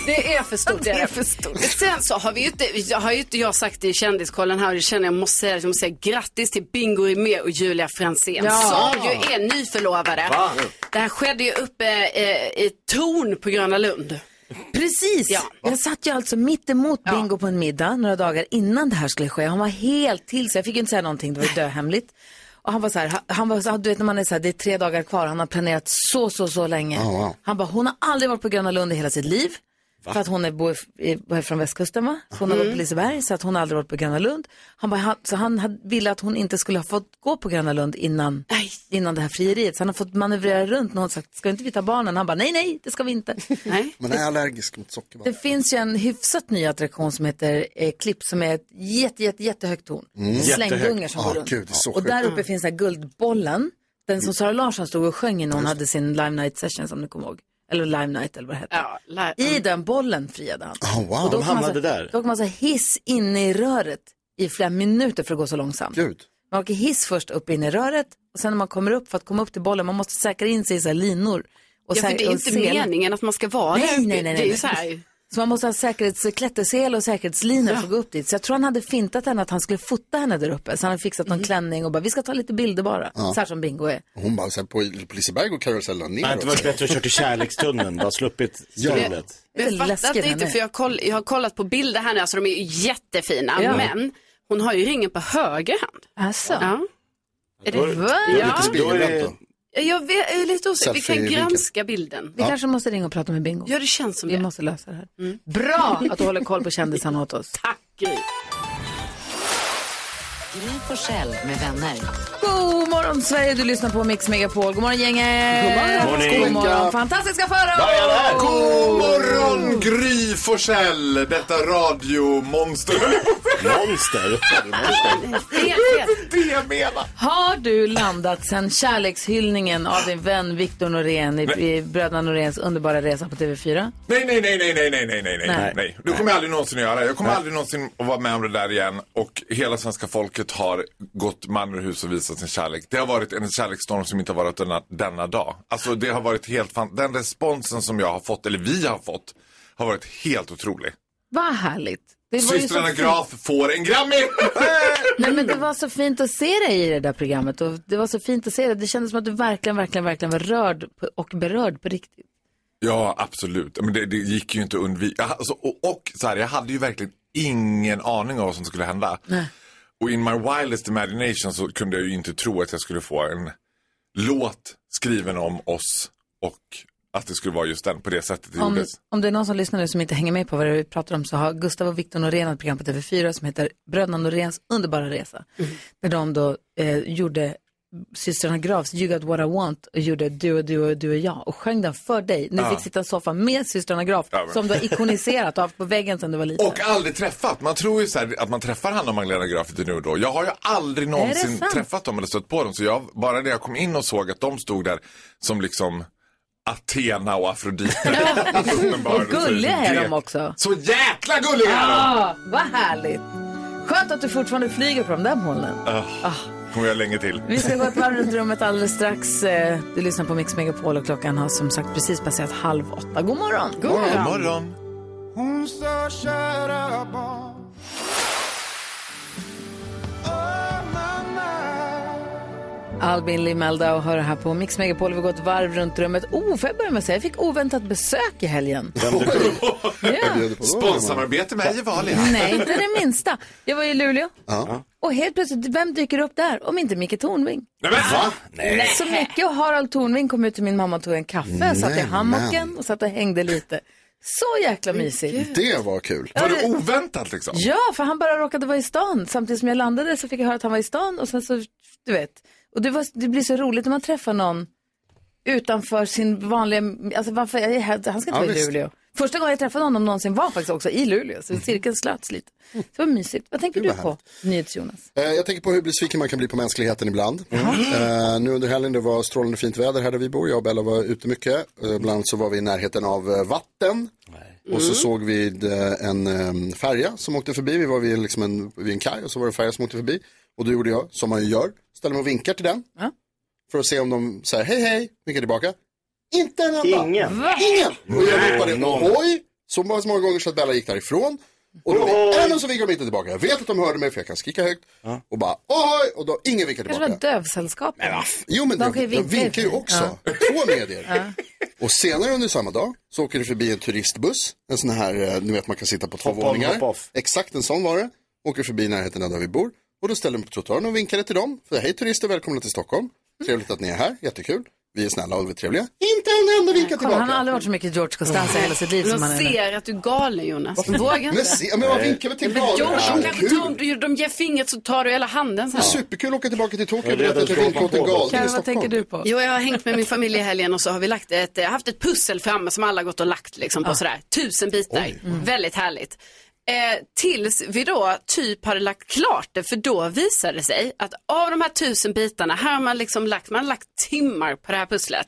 Det är för stort. det är för stort. Sen så har vi ju inte, jag har ju inte jag sagt i kändiskollen här och det känner jag måste säga, jag måste säga grattis till Bingo Rimér och Julia Fransén
Ja.
som ju är nyförlovade.
Va?
Det här skedde ju uppe eh, i Torn på Gröna Lund.
Precis! Jag satt ju alltså mitt emot Bingo på en middag några dagar innan det här skulle ske. Han var helt till sig. Jag fick ju inte säga någonting, det var ju döhemligt. Och han var så här, han- han var så här, du vet när man är så här, det är tre dagar kvar, han har planerat så, så, så länge.
Ja, wow.
Han bara, hon har aldrig varit på Gröna Lund i hela sitt liv. För att hon är, bo, är, är från västkusten va? Så hon har varit
Mm.
på Liseberg så att hon har aldrig varit på Gröna Lund. Han bara, han, så han hade, ville att hon inte skulle ha fått gå på Gröna Lund innan, innan det här frieriet. Så han har fått manövrera runt när hon sagt, ska inte vi ta barnen? Han bara, nej nej, det ska vi inte. Nej.
Man är allergisk mot sockervatten.
Det finns ju en hyfsat ny attraktion som heter eh, Klipp som är ett jätte, jätte, jättehögt torn.
Mm.
Slänggungar
Jättehögt.
som
Ah,
går runt.
gud, det är så
och där
sjukt.
uppe finns den här guldbollen. Den som Sara Larsson stod och sjöng i när hon
Just
hade sin Live Night session som ni kommer ihåg. Eller Live Night eller vad det hette. I den bollen friade han.
Oh, wow.
Och
De
åker man
hamnade
så,
där.
Då åker man så här hiss inne i röret i flera minuter för att gå så långsamt.
Gud.
Man åker hiss först upp inne i röret och sen när man kommer upp för att komma upp till bollen, man måste säkra in sig i så här linor. Och
Ja,
så här,
för det är
och
inte
sel.
meningen att man ska vara
nej,
där
nej,
uppe.
nej, nej,
Det är ju så här.
Så man måste ha säkerhets, klättersel och säkerhetslinor för att gå upp dit. Så jag tror han hade fintat henne att han skulle fota henne där uppe. Så han hade fixat någon klänning och bara, vi ska ta lite bilder bara.
Ja.
Så här som Bingo är.
Och Hon bara, så här, på, på Liseberg går karusellen
Nej,
neråt.
det var bättre att köra till kärlekstunneln. Bara sluppit strulet.
Men
Lite
jag fattar
läskigt
det inte
henne.
för jag, koll, jag har kollat på bilder här nu, alltså de är ju jättefina.
Ja.
Men hon har ju ringen på höger hand.
Alltså.
Ja. Är
Då är
det,
det-
va?
då är det
Ja.
lite spegelvänt då.
Ja, Jag vet, jag är lite osäker, vi kan
Selfie-vinkel.
granska bilden.
Vi kanske måste ringa och prata med Bingo.
Ja, det känns som
Vi måste lösa det här. Bra att du håller koll på kändisarna åt oss.
Tack Gry.
Gry Forssell med vänner.
God morgon Sverige, du lyssnar på Mix Megapol. God morgon gänget.
God morgon.
God morgon.
Morning.
Fantastiska Farao.
God morgon Gry Forssell, detta radiomonster.
Monster?
Det jag menar.
Har du landat sen kärlekshyllningen av din vän Victor Norén i, i Bröderna Noréns underbara resa på TV4?
Nej, nej, nej, nej, nej, nej, nej, nej,
Nej.
nej, nej. Du kommer jag aldrig någonsin att göra. Jag kommer aldrig någonsin att vara med om det där igen. Och hela svenska folket har gått man ur hus och visat sin kärlek. Det har varit en kärleksstorm som inte har varit denna, denna dag. Alltså det har varit helt fan... Den responsen som jag har fått, eller vi har fått, har varit helt otrolig.
Vad härligt. Det var ju så
Systrarna
fint.
Graf får en Grammy!
Nej, men det var så fint att se dig i det där programmet. Och det var så fint att se dig. Det kändes som att du verkligen, verkligen, verkligen var rörd på, och berörd på riktigt.
Ja, absolut. Men det, det gick ju inte att undvika. Alltså, och, och så här, jag hade ju verkligen ingen aning om vad som skulle hända. Och in my wildest imagination så kunde jag ju inte tro att jag skulle få en låt skriven om oss och att det skulle vara just den på det sättet det
Om,
gjordes.
om det är någon som lyssnar nu som inte hänger med på vad vi pratar om så har Gustav och Victor Norén ett program på TV4 som heter Bröderna Noréns underbara resa.
Mm.
Där de då eh, gjorde systrarna Grafs You got what I want och gjorde du och du och du och jag och sjöng den för dig. Ni
Ja.
fick sitta i en soffa med systrarna Graf
Ja, men-
som du har ikoniserat och haft på väggen sedan du var liten.
Och aldrig träffat. Man tror ju så här att man träffar Hanna och Magdalena Graf lite nu och då. Jag har ju aldrig någonsin
sant?
träffat dem eller stött på dem. Så jag, bara när jag kom in och såg att de stod där som liksom Athena och Afrodite.
Och gulliga är de
Grek.
också.
Så jäkla gulliga är de!
Ja, vad härligt. Skönt att du fortfarande flyger på de där molnen.
Ah, kommer jag länge till.
Vi ska gå ett varv runt rummet alldeles strax. Eh, Du lyssnar på Mix Megapol och klockan har som sagt precis passerat halv åtta. God morgon!
God morgon.
Hon sa kära barn
Albin Limelda och hör här på Mix Megapol. Vi går ett varv runt rummet. Oh, får jag börja med att säga, jag fick oväntat besök i helgen.
Sponsamarbete med Gevalia.
Nej, inte det minsta. Jag var i Luleå
Ja.
och helt plötsligt, vem dyker upp där om inte Micke Tornving?
Nej, men, va?
Så Micke och Harald Tornving kom ut till min mamma och tog en kaffe. Jag satt i
Nej,
hammocken
men.
och satt och hängde lite. Så jäkla mysigt.
Det var kul.
Var det
oväntat liksom?
Ja, för han bara råkade vara i stan. Samtidigt som jag landade så fick jag höra att han var i stan och sen så, du vet. Och det, var, det blir så roligt när man träffar någon utanför sin vanliga, alltså varför, jag är här- han ska inte
Ja,
vara i
visst.
Luleå. Första gången jag träffade honom någonsin var faktiskt också i Luleå, så cirkeln slöts lite. Så det var mysigt. Vad tänker
Gud,
du
vad
på, NyhetsJonas?
Eh, Jag tänker på hur besviken man kan bli på mänskligheten ibland. Eh, nu under helgen det var strålande fint väder här där vi bor. Jag och Bella var ute mycket. Eh, ibland så var vi i närheten av eh, vatten. Och så såg vi eh, en eh, färja som åkte förbi. Vi var vid, liksom en, vid en kaj och så var det en färja som åkte förbi. Och då gjorde jag, som man ju gör, ställer mig och vinkar till den. För att se om de säger hej hej, vinkar tillbaka. Inte en enda.
Ingen. Va?
Ingen. Och jag ropade
Någon.
ohoj, så många så många gånger så att Bella gick därifrån. Och då ändå så vinkade de inte tillbaka. Jag vet att de hörde mig för jag kan skrika högt. Och bara ohoj, och då ingen vinkade
Kanske var
tillbaka.
dövsällskap?
Jo men
De
de,
kan ju
de,
vinka
vinkar ju
efter.
också. Två medier. Och senare under samma dag så åker det förbi en turistbuss. En sån här, eh, ni vet man kan sitta på två
Hop on,
våningar.
hop off.
Exakt en sån var det. Åker förbi i närheten där vi bor. Och då ställer de mig på trottoaren och vinkade till dem. För hej turister, välkomna till Stockholm. Trevligt att ni är här, jättekul.
Vi är snälla och vi är trevliga.
Inte en enda vinkel
tillbaka.
Han har aldrig varit så mycket George Costanza i hela sitt liv som han
De
är nu.
ser att du är galen Jonas. De
Varför?
vågar
Men se- men vad vinkar vi till
Men
galen?
George,
Ja,
de kanske
kul.
tar- du- de ger fingret så tar du hela handen så här.
Superkul att åka tillbaka till Tokyo
Jag
och berätta
vet
att
inte vad man
vinkåt en
får.
galning
Karin,
i
vad
Stockholm.
tänker
du på?
Jo, jag har hängt med min familj i helgen och så har vi lagt ett, eh, haft ett pussel framme som alla gått och lagt liksom på sådär tusen bitar. Väldigt härligt. Eh, tills vi då typ hade lagt klart det för då visade det sig att av de här tusen bitarna, här har man liksom lagt, man har lagt timmar på det här pusslet.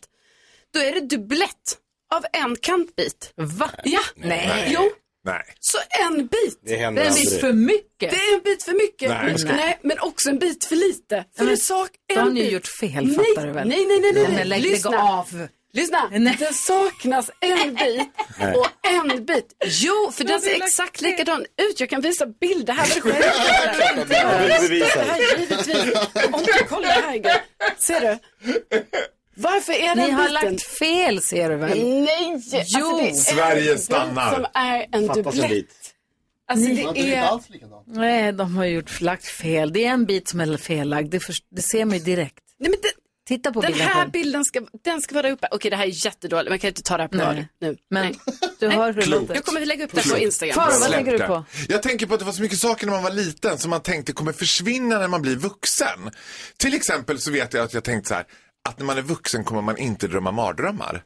Då är det dubblett av en kantbit.
Va?
Ja.
Nej.
Jo,
Nej.
så en bit.
Det händer
är en
aldrig.
bit
för
mycket.
Det är en bit för mycket.
Nej.
Men-
Nej.
Nej, men också en bit för lite. För
men
det sak
då
en
har ni
bit.
gjort fel,
nej,
fattar du väl?
Nej, nej, nej. nej,
Ja, men
nej.
lägg- lägg av.
Lyssna. Det saknas en bit
Nej.
och en bit. Jo, för
Men
den
vi
ser
har lagt
exakt likadan ut. Jag kan visa bilder här.
Ja,
Vad det
det har vi bevisat.
här givetvis. Om du kollar här, Inga. Ser du? Varför är den
Ni har
biten?
lagt fel ser du väl?
Nej! Jo.
Jo.
det är en
Sverige
bit
stannar.
Som är en
Fattas en
dubblett.
bit.
Alltså,
Ni-
det är...
Nej, de har gjort lagt fel. Det är en bit som är fellagd. Det, först- det ser man ju direkt. Titta på
Den
bilden
här
själv.
bilden ska, den ska vara uppe. Okej, det här är jättedåligt. Man kan inte ta det här på
Nej.
radio nu.
Men du hör hur det
Klokt.
låter.
Jag kommer lägga upp det på
Klokt.
Instagram.
Släpp det. Jag tänker på att det var så mycket saker när man var liten som man tänkte kommer försvinna när man blir vuxen. Till exempel så vet jag att jag tänkte så här, att när man är vuxen kommer man inte drömma mardrömmar.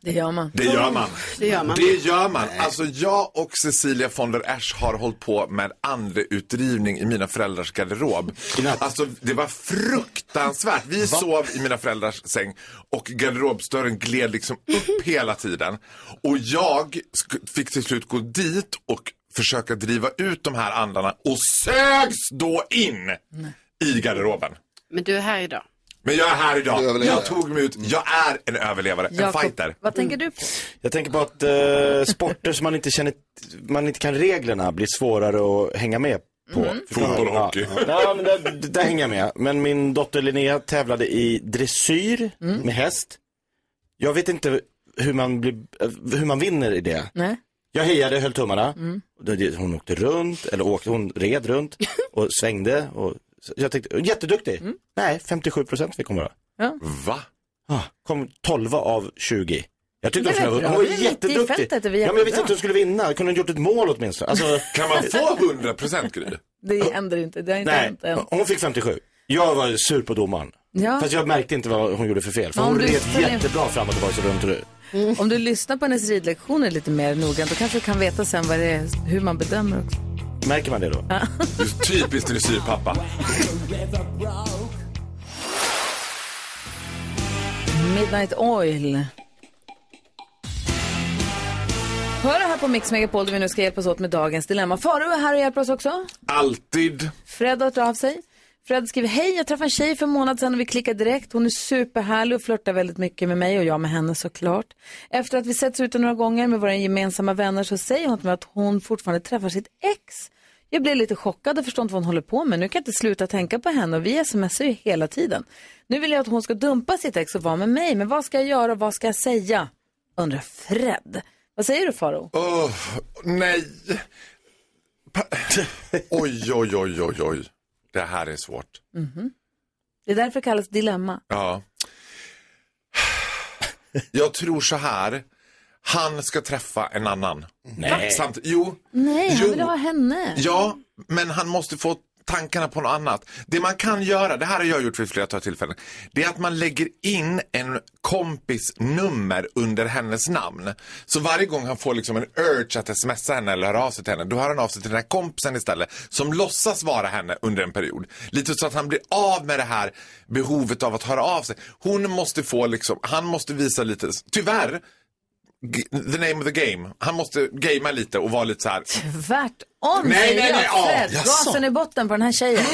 Det gör man.
Det gör man.
Det gör man.
Det gör man. Alltså jag och Cecilia von der Esch har hållit på med andeutdrivning i mina föräldrars garderob. Alltså det var fruktansvärt. Vi sov i mina föräldrars säng och garderobsdörren gled liksom upp hela tiden. Och jag sk- fick till slut gå dit och försöka driva ut de här andarna och sögs då in i garderoben.
Men du är här idag.
Men jag är här
Du
idag.
överlever.
Jag tog mig ut. Jag är en överlevare, en fighter.
vad tänker du på?
Jag tänker på att eh, sporter som man inte känner, man inte kan reglerna blir svårare att hänga med på.
Mm. Fotboll och hockey.
Ja, ja men där, där hänger jag med. Men min dotter Linnea tävlade i dressyr
Mm.
med häst. Jag vet inte hur man, blir, hur man vinner i det.
Nej.
Jag hejade, höll tummarna.
Mm.
Då- det- Hon åkte runt, eller åkte, hon red runt och svängde. Och, så jag tänkte, jätteduktig. Nej, 57 procent fick hon bara.
Mm. Ja.
Va?
Ah, kom 12 av 20. Jag tyckte
Det
hon
är
skulle
bra.
ha Hon var
Det är mitt i
jätteduktig.
fältet, det var
ja, men jag visste
jättebra.
inte hon skulle vinna. Kunde hon gjort ett mål åtminstone? Alltså...
Kan man få 100 procent Gry?
Det händer inte. Det har inte
Nej,
hänt än.
hon fick 57. Jag var sur på domaren.
Ja.
Fast jag märkte inte vad hon gjorde för fel. För
Men om
hon
du
red
följer-
jättebra fram och tillbaka runt och runt.
Om du lyssnar på hennes ridlektioner lite mer noggrant då kanske du kan veta sen vad det är, hur man bedömer också.
Märker man det då?
Typiskt dressyrpappa.
Midnight Oil. Hör det här på Mix Megapol där vi nu ska hjälpas åt med dagens dilemma. Faro är här och hjälper oss också.
Alltid.
Fred har hört av sig. Fred skriver, hej jag träffade en tjej för en månad sedan och vi klickade direkt. Hon är superhärlig och flörtar väldigt mycket med mig och jag med henne såklart. Efter att vi setts ute några gånger med våra gemensamma vänner så säger hon till mig att hon fortfarande träffar sitt ex. Jag blir lite chockad och förstår inte vad hon håller på med. Nu kan jag inte sluta tänka på henne och vi smsar ju hela tiden. Nu vill jag att hon ska dumpa sitt ex och vara med mig, men vad ska jag göra och vad ska jag säga? Undrar Fred. Vad säger du Faro?
Åh, nej. Oj, oj, oj, oj, oj. Det här är svårt.
Mhm. Det är därför det kallas dilemma.
Ja. Jag tror så här. Han ska träffa en annan.
Nej.
Samt, jo,
Nej, han
Jo.
vill ha henne.
Ja, men han måste få tankarna på något annat. Det man kan göra, det här har jag gjort vid flera tillfällen, det är att man lägger in en kompis nummer under hennes namn. Så varje gång han får liksom en urge att smsa henne eller höra av sig till henne, då hör han av sig till den här kompisen istället som låtsas vara henne under en period. Lite så att han blir av med det här behovet av att höra av sig. Hon måste få liksom, han måste visa lite, tyvärr, g- the name of the game. Han måste gamea lite och vara lite så här.
Tvärtom
Nej,
säger
nej,
jag.
nej, ja.
Fred,
Jaså.
gasen i botten på den här tjejen.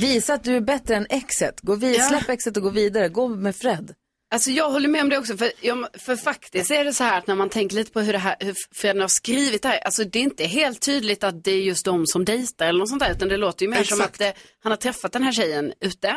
Visa att du är bättre än exet. Gå vid, Släpp exet och gå vidare. Gå med Fred.
Alltså jag håller med om det också, för, jag, för faktiskt är det så här att när man tänker lite på hur, det här, hur föräldrarna har skrivit det här, alltså det är inte helt tydligt att det är just de som dejtar eller något sånt där, utan det låter ju mer som
Exakt.
att eh, han har träffat den här tjejen ute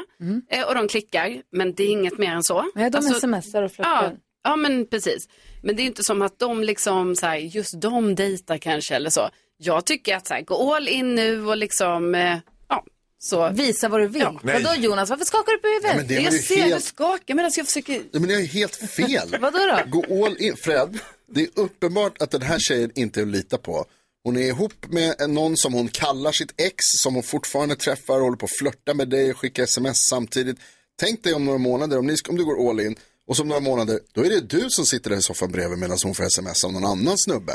eh, och de klickar, men det är inget mer än så.
Nej, de
Alltså,
smsar och
ja,
flörtar.
ja, men precis. Men det är ju inte som att de liksom, så här, just de dejtar kanske eller så. Jag tycker att så här, gå all in nu och liksom, eh, ja, Så.
Visa vad du vill.
Nej.
Vadå Jonas, varför skakar du på huvudet?
Ja, men det är väl
jag ser
helt-
du skakar medan jag försöker...
Ja, men det är ju helt fel.
Vadå då?
Gå all in. Fred, det är uppenbart att den här tjejen inte är att lita på. Hon är ihop med någon som hon kallar sitt ex, som hon fortfarande träffar, håller på att flörta med dig, skickar sms samtidigt. Tänk dig om några månader, om, ni, om du går all in, och som några månader, då är det du som sitter där i soffan bredvid medan hon får sms av någon annan snubbe.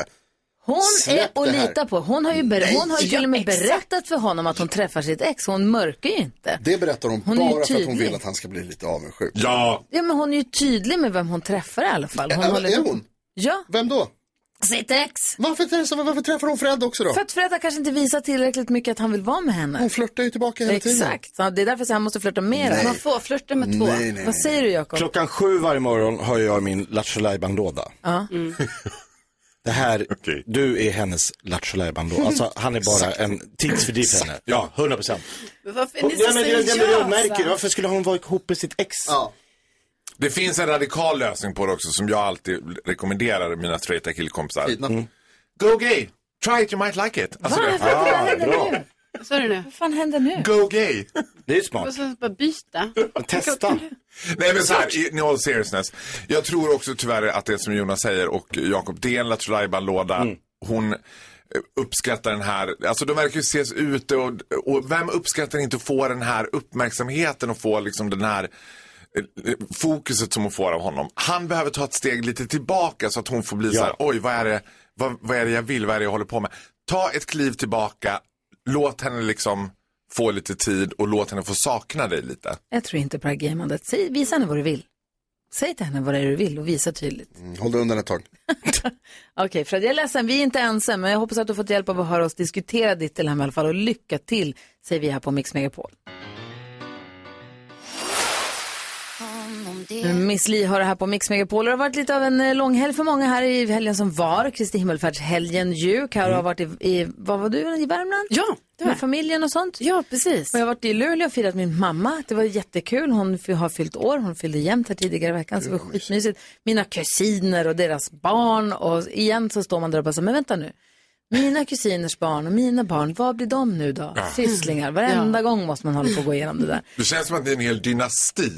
Hon
Släpp
är att
det här.
lita på. Hon har ju, ber- hon har ju
Nej.
till och med
Ja, exakt.
berättat för honom att hon träffar sitt ex. Hon mörkar ju inte.
Det berättar hon,
Hon är ju
bara för att hon
tydlig.
vill att han ska bli lite avundsjuk. Ja!
Ja, men hon är ju tydlig med vem hon träffar i alla fall. Hon
Äh,
håller
är
inte-
hon?
Ja.
Vem då?
Sitt ex.
Varför, träffar- varför träffar hon Fred också då?
För att Fred har kanske inte visat tillräckligt mycket att han vill vara med henne.
Hon flörtar ju tillbaka hela tiden.
Exakt. Så det är därför så han måste flörta mer.
Nej. Man
får flörta
med två. Nej, nej, nej.
Vad säger du Jakob?
Klockan sju varje morgon har jag min Lattjo Lajban-låda.
Ja.
Mm.
Det här, du är hennes Lattjo Lajban-låda. Alltså han är bara en tidsfördriv för henne. Ja, 100 procent.
Men varför är
Ja,
ni så
men jag, jag, jag, jag märker,
seriösa?
varför skulle hon vara ihop med sitt ex?
Det finns en radikal lösning på det också som jag alltid rekommenderar mina straighta killkompisar. Mm. Go gay! Try it, you might like it. Alltså,
Va? Ah, Vad händer
bra.
nu?
Vad sa du nu?
Vad fan händer nu?
Go gay!
Det är
Och sen bara byta.
Testa.
Nej men så här, i- in all seriousness. Jag tror också tyvärr att det som Jonas säger och Jakob, det är en Lattjo Lajban-låda.
Mm.
Hon eh, uppskattar den här, alltså de verkar ju ses ute och, och vem uppskattar inte att få den här uppmärksamheten och få liksom den här eh, fokuset som hon får av honom. Han behöver ta ett steg lite tillbaka så att hon får bli så här, oj vad är, det, vad, vad är det jag vill, vad är det jag håller på med. Ta ett kliv tillbaka, låt henne liksom få lite tid och låt henne få sakna dig lite.
Jag tror inte på det här gamandet. Säg, visa henne vad du vill. Säg till henne vad det är du vill och visa tydligt.
Mm, Håll dig undan ett tag.
Okej Fred, jag är ledsen, vi är inte ensamma. men jag hoppas att du har fått hjälp av att höra oss diskutera ditt dilemma i alla fall. Och lycka till, säger vi här på Mix Megapol. Miss Li har det här på Mix Megapol. Det har varit lite av en eh, lång helg för många här i helgen som var. Kristi himmelfärdshelgen ju. Karo har varit i, i, vad var du, i Värmland?
Mm. Ja, det var
Med familjen och sånt?
Ja, precis.
Och jag har varit i Luleå och firat min mamma. Det var jättekul. Hon f- har fyllt år. Hon fyllde jämnt här tidigare i veckan. Så det var skitmysigt. Mina kusiner och deras barn. Och igen så står man där och bara så, men vänta nu. Mina kusiners barn och mina barn, vad blir de nu då?
Ja.
Sysslingar. Varenda gång måste man hålla på och gå igenom det där.
Det känns som att det är en hel dynasti.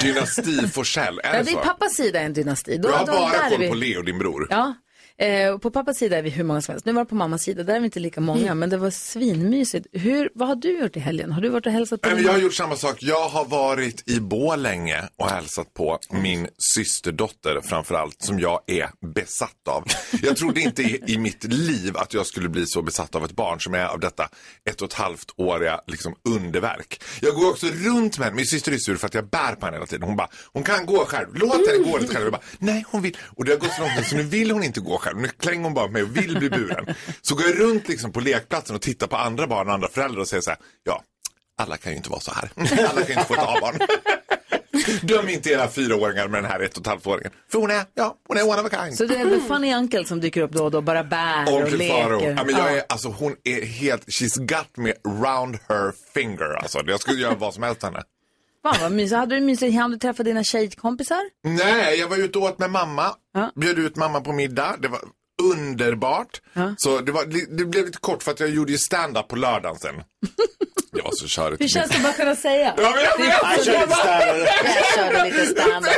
Dynasti Forsell, är
Ja,
det
det är
så?
pappas sida en dynasti. Då,
Jag har
då,
bara
där är
koll
vi.
på Leo, din bror.
Ja. Eh, och på pappas sida är vi hur många som helst. Nu var det på mammas sida, där är vi inte lika många.
Mm.
Men det var svinmysigt. Hur, vad har du gjort i helgen? Har du varit och hälsat på
Nej, men
din
jag har
mamma?
gjort samma sak. Jag har varit i Borlänge och hälsat på min systerdotter framförallt som jag är besatt av. Jag trodde inte i, i mitt liv att jag skulle bli så besatt av ett barn som är av detta ett och ett halvt åriga liksom, underverk. Jag går också runt med henne. Min syster är sur för att jag bär på henne hela tiden. Hon bara, hon kan gå själv. Låt henne gå lite själv. Jag bara, nej hon vill. Och det har gått så långt nu, så nu vill hon inte gå själv. Nu klänger hon bara på mig och vill bli buren. Så går jag runt liksom, på lekplatsen och tittar på andra barn och andra föräldrar och säger så här, ja alla kan ju inte vara så här. Alla kan ju inte få ett A-barn. Döm inte era fyraåringar med den här ett och ett halvt-åringen. För hon är, ja, hon är one of a kind.
Så det är the funny uncle som dyker upp då och då, bara bär och
Onkel
leker.
Faro. Ja, men jag
Ja.
är, alltså, hon är helt, she's got me round her finger. Alltså, jag skulle göra vad som helst henne.
Fan vad mysigt. Hade du mysigt? Hann du träffa dina tjejkompisar?
Nej, jag var ute och åt med mamma. Bjöd ut mamma på middag. Det var underbart. Så det, var, det blev lite kort för att jag gjorde ju stand-up på lördagen sen. Det var så körigt.
Hur känns det att bara kunna säga?
Ja, men jag vet!
Det är- Jag körde lite standard.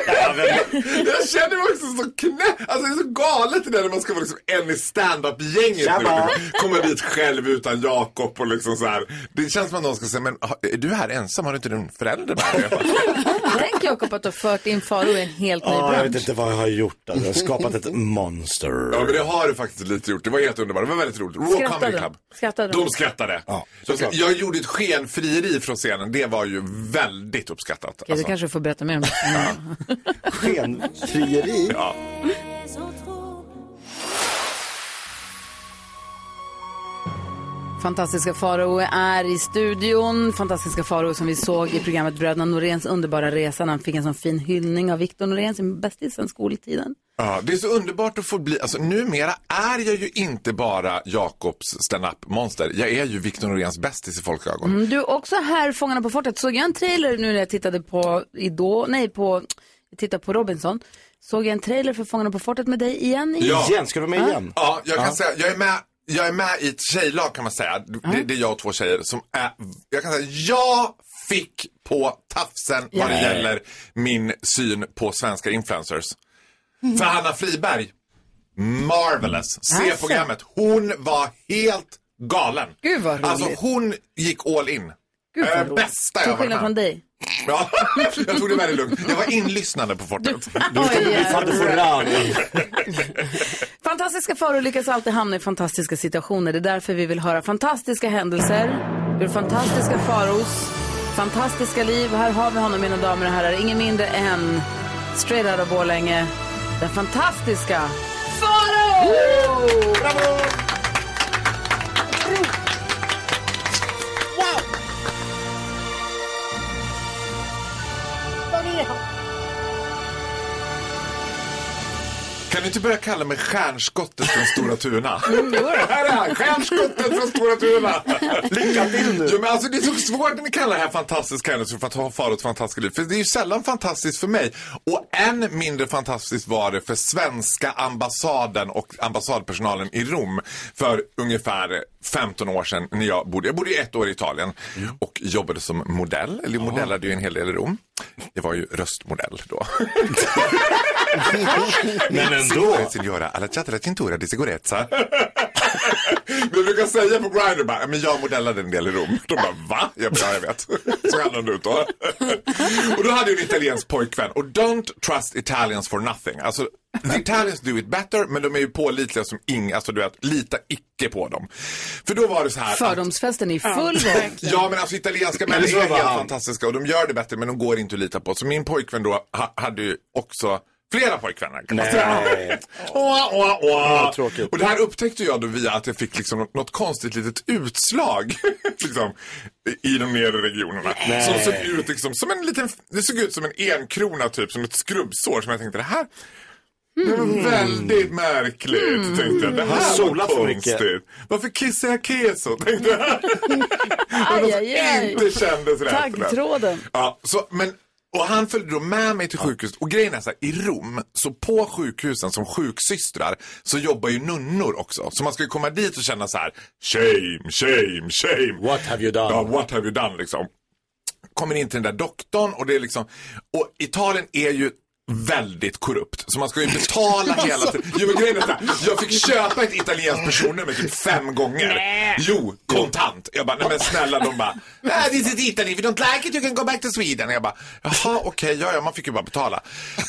Jag känner mig också så knä... Alltså det är så galet det där när man ska vara liksom en i standup-gänget nu.
Tjaba.
Liksom. Komma dit själv utan Jakob och liksom så här. Det känns som att någon ska säga, men har- är du här ensam? Har du inte din förälder med dig?
Tänk Jakob att du har fört in Faro i en helt ny
Ja, jag
bransch.
vet inte vad jag har gjort. Alltså. Jag har skapat ett monster.
Ja men det har du faktiskt lite gjort. Det var helt underbart. Det var väldigt roligt. Raw Comedy Club.
Skrattade
De skrattade. De
såklart.
jag gjorde ett skenfrieri från scenen. Det var ju väldigt uppskattat. alltså.
Okej, du kanske får berätta mer om det. Mm.
Skenfrieri?
Ja.
Fantastiska Farao är i studion. Fantastiska Farao som vi såg i programmet Bröderna Noréns underbara resa. när Han fick en sån fin hyllning av Victor Norén, sin bästis sedan skoltiden.
Ja, det är så underbart att få bli, alltså numera är jag ju inte bara Jakobs stand-up monster. Jag är ju Victor Noréns bästis i folks ögon.
Mm, du, också här Fångarna på fortet. Såg jag en trailer nu när jag tittade på Idol, nej på, jag tittade på Robinson. Såg jag en trailer för Fångarna på fortet med dig igen?
Ja.
Igen? Ska du vara med igen?
Ja, jag kan
Ja.
säga, jag är med Jag är med i ett tjejlag kan man säga. Det, det är jag och två tjejer som är, jag kan säga, jag fick på tafsen vad det
Ja.
gäller min syn på svenska influencers. För Hanna Friberg, marvelous. Se
Alltså.
programmet, hon var helt galen.
Gud, vad roligt.
Alltså hon gick all in.
Gud, vad
Eh,
roligt.
bästa
Till
jag varit
skillnad
med
från dig.
Ja, jag tog det väldigt lugnt. Jag var inlyssnande på fortet.
Du ska bli
fattigfurran.
Fantastiska faror lyckas alltid hamna i fantastiska situationer. Det är därför vi vill höra fantastiska händelser ur fantastiska faros fantastiska liv. Här har vi honom, mina damer och herrar. Ingen mindre än straight out of Borlänge, den fantastiska Farao! Bravo!
Kan du inte börja kalla mig stjärnskottet från Stora Tuna?
Mm, jo då.
Här är han, stjärnskottet från Stora Tuna. Lycka till nu. Jo, men alltså, det är så svårt när ni kallar det här fantastiskt händelser för att ha Faros fantastiska liv. För det är ju sällan fantastiskt för mig. Och än mindre fantastiskt var det för svenska ambassaden och ambassadpersonalen i Rom för ungefär 15 år sedan när jag bodde. Jag bodde ju ett år i Italien och jobbade som modell. Eller modellade ju en hel del i Rom. Det var ju röstmodell då. Men ändå. Signora, alla chatta cintura di sicurezza. Vi brukar säga på Grindr bara, men jag modellade en del i Rom. De bara, va? Jag bara, ja, jag vet. Så hade han ut då. Och då hade jag en italiensk pojkvän. Och don't trust Italians for nothing. Alltså, the Italians do it better, men de är ju pålitliga som inga, alltså du vet, lita icke på dem. För då var det så här. att-
Fördomsfesten är i full gång.
Ja men alltså italienska
Men det
människor är
tror jag
helt
var-
fantastiska och de gör det bättre men de går inte att lita på. Så min pojkvän då ha, hade ju också flera pojkvänner kan man säga.
Nej.
Åh, åh, åh.
Vad tråkigt.
Och det här upptäckte jag då via att jag fick liksom nå- något konstigt litet utslag liksom, i de nedre regionerna.
Nej.
Som såg ut liksom, som en liten, det såg ut som en enkrona typ, som ett skrubbsår som jag tänkte det här det var väldigt märkligt, tänkte jag. Det
Mm. Har
här var
solat för mycket.
konstigt. Varför kissar jag keso, tänkte jag. Det var något som
Aj, aj, aj.
inte kändes rätt.
Taggtråden.
Ja, så, men, och han följde då med mig till sjukhuset. Och grejen är så här, i Rom, så på sjukhusen som sjuksystrar så jobbar ju nunnor också. Så man ska ju komma dit och känna så här, shame, shame, shame. What have you done? Ja, what have you done liksom. Kommer in till den där doktorn och det är liksom, och Italien är ju väldigt korrupt. Så man ska ju betala hela tiden. Jo men grejen är så här, jag fick köpa ett italienskt personnummer typ fem gånger. Jo, kontant. Jag bara, nej men snälla de bara, "Ah, this is Italy, if you don't like it you can go back to Sweden. Jag bara, jaha okej, ja ja man fick ju bara betala.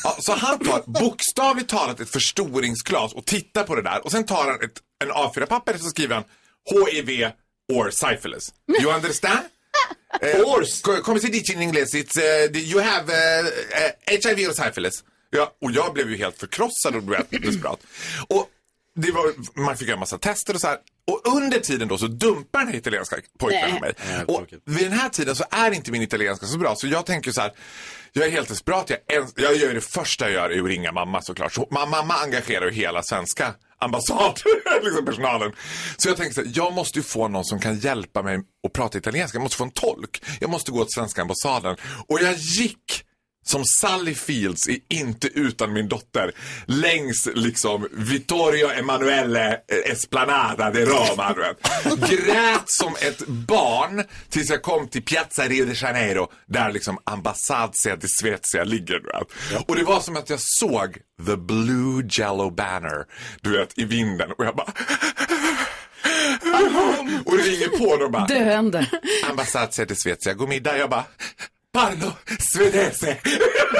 Ja, så han tar bokstavligt talat ett förstoringsglas och tittar på det där och sen tar han ett, en A4-papper och så skriver han HIV or syphilis. You understand? Eh, co- Come si dice in inglese, it's, eh, the- you have eh, eh, HIV or syphilis. Ja, och jag blev ju helt förkrossad och blev desperat. Och det var, man fick göra en massa tester och så här. Och under tiden då så dumpar den här italienska pojkvännen
Nej.
mig. Och vid den här tiden så är inte min italienska så bra. Så jag tänker så här. Jag är helt desperat. Jag, ens, jag gör det första jag gör är att ringa mamma såklart. Så ma- mamma engagerar ju hela svenska ambassad, liksom personalen. Så jag tänker så här, jag måste ju få någon som kan hjälpa mig att prata italienska. Jag måste få en tolk. Jag måste gå till svenska ambassaden. Och jag gick som Sally Fields i Inte utan min dotter längs liksom Vittorio Emanuele eh, Esplanada de Roma. du vet. Grät som ett barn tills jag kom till Piazza Rio de Janeiro där liksom Ambassadia di Svezia ligger. Du vet. Och det var som att jag såg the blue jello banner du vet, i vinden och jag bara och det ringer på och de bara
Döende.
Ambassadia di Svezia, god middag. Jag bara Parlo svedese.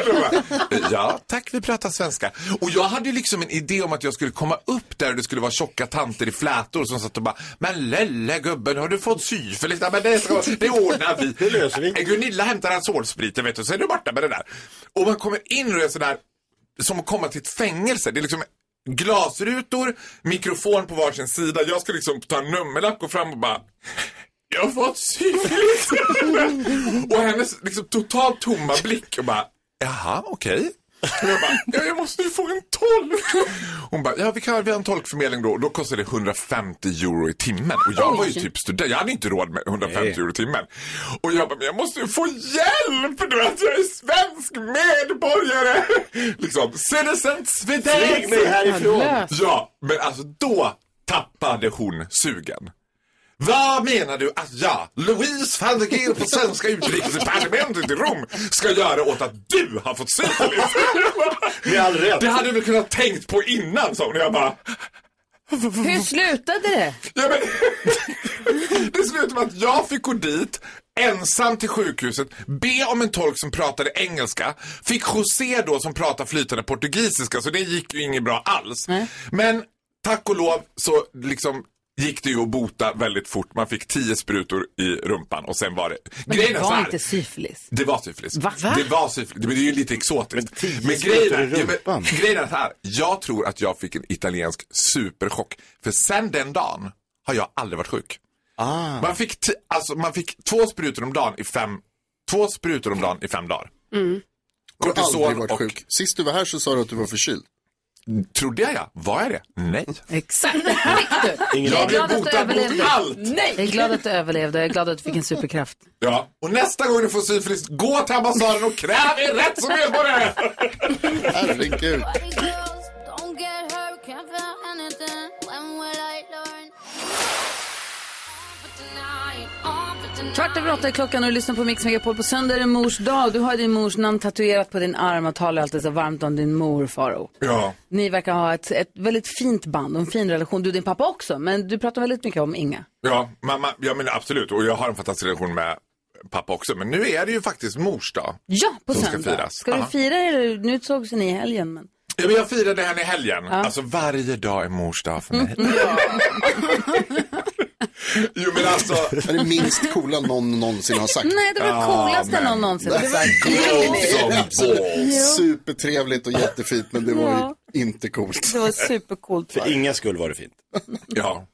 De bara, ja, tack vi pratar svenska. Och jag hade ju liksom en idé om att jag skulle komma upp där och det skulle vara tjocka tanter i flätor som satt och bara Men lille gubben, har du fått syfilis? Ja, men det, ska, det ordnar vi. Det löser vi. Gunilla hämtar hans hårsprit, vet du, så är du borta med det där. Och man kommer in och är sådär som att komma till ett fängelse. Det är liksom glasrutor, mikrofon på varsin sida. Jag ska liksom ta en nummerlapp, gå fram och bara jag har fått syfilis. och hennes liksom, totalt tomma blick och bara, jaha, okej. Och jag bara, ja, jag måste ju få en tolk. Hon bara, ja vi kan vi har en tolkförmedling då. Och då kostar det 150 euro i timmen. Och jag var ju
Oj.
typ student, jag hade inte råd med 150 euro i timmen. Och jag bara, men jag måste ju få hjälp! Du vet, jag är svensk medborgare! liksom, citizen Sweden!
Flyg mig härifrån.
Ja, men alltså då tappade hon sugen. Vad menar du att jag, Louise van der Geer på svenska utrikesdepartementet i Rom, ska göra åt att du har fått syfilis? Med all rätt. Det hade du väl kunnat tänkt på innan, sa hon. Och jag bara,
Hur slutade det?
Ja, men, det slutade med att jag fick gå dit ensam till sjukhuset, be om en tolk som pratade engelska, fick José då som pratar flytande portugisiska så det gick ju inget bra alls. Men tack och lov så liksom gick det ju att bota väldigt fort. Man fick tio sprutor i rumpan och sen var det...
Men
Grejen
det
är så
var
här.
inte syfilis.
Det var syfilis.
Va? Va?
Det var syfilis. Men det är ju lite exotiskt. Men,
sprutor i
grejen, är, ja,
rumpan.
men, grejen är så här. Jag tror att jag fick en italiensk superchock. För sen den dagen har jag aldrig varit sjuk. Man, fick t- alltså, man fick två sprutor om dagen i fem, två sprutor om dagen i fem dagar.
Mm. Du har
Kortison
aldrig varit
och-
sjuk. Sist du var här så sa du att du var förkyld.
Trodde jag ja. Var jag det? Nej.
Exakt, det fick du.
Ingen
jag är
aning.
glad att du
Botad mot
överlevde.
allt.
Nej. Jag är glad att du överlevde och jag är glad att du fick en superkraft.
Ja. Och nästa gång du får syfilis, gå till ambassaden och kräv er rätt som medborgare!
Herregud.
Don't get hurt, can't feel anything. When will I learn?
Kvart över åtta är klockan och du lyssnar på Mix Megapol. På söndag är det mors dag. Du har din mors namn tatuerat på din arm och talar alltid så varmt om din mor, Faro.
Ja.
Ni verkar ha ett, ett väldigt fint band och en fin relation. Du och din pappa också, men du pratar väldigt mycket om Inga.
Ja, mamma, ja men absolut. Och jag har en fantastisk relation med pappa också. Men nu är det ju faktiskt mors dag.
Ja, på
Som ska
söndag.
firas.
Ska du
Aha.
fira eller? Nu sågs ju ni i helgen, men.
Ja, men jag firade henne i helgen.
Ja. Mm.
Alltså varje dag är mors dag för mig. jo men alltså.
Det är det minst coola någon någonsin har sagt.
Nej, det var det coolaste någon någonsin. Det var- Ja.
Supertrevligt och jättefint men det var
Ja.
ju inte coolt.
Det var supercoolt.
För
inga skull var det fint.
Ja.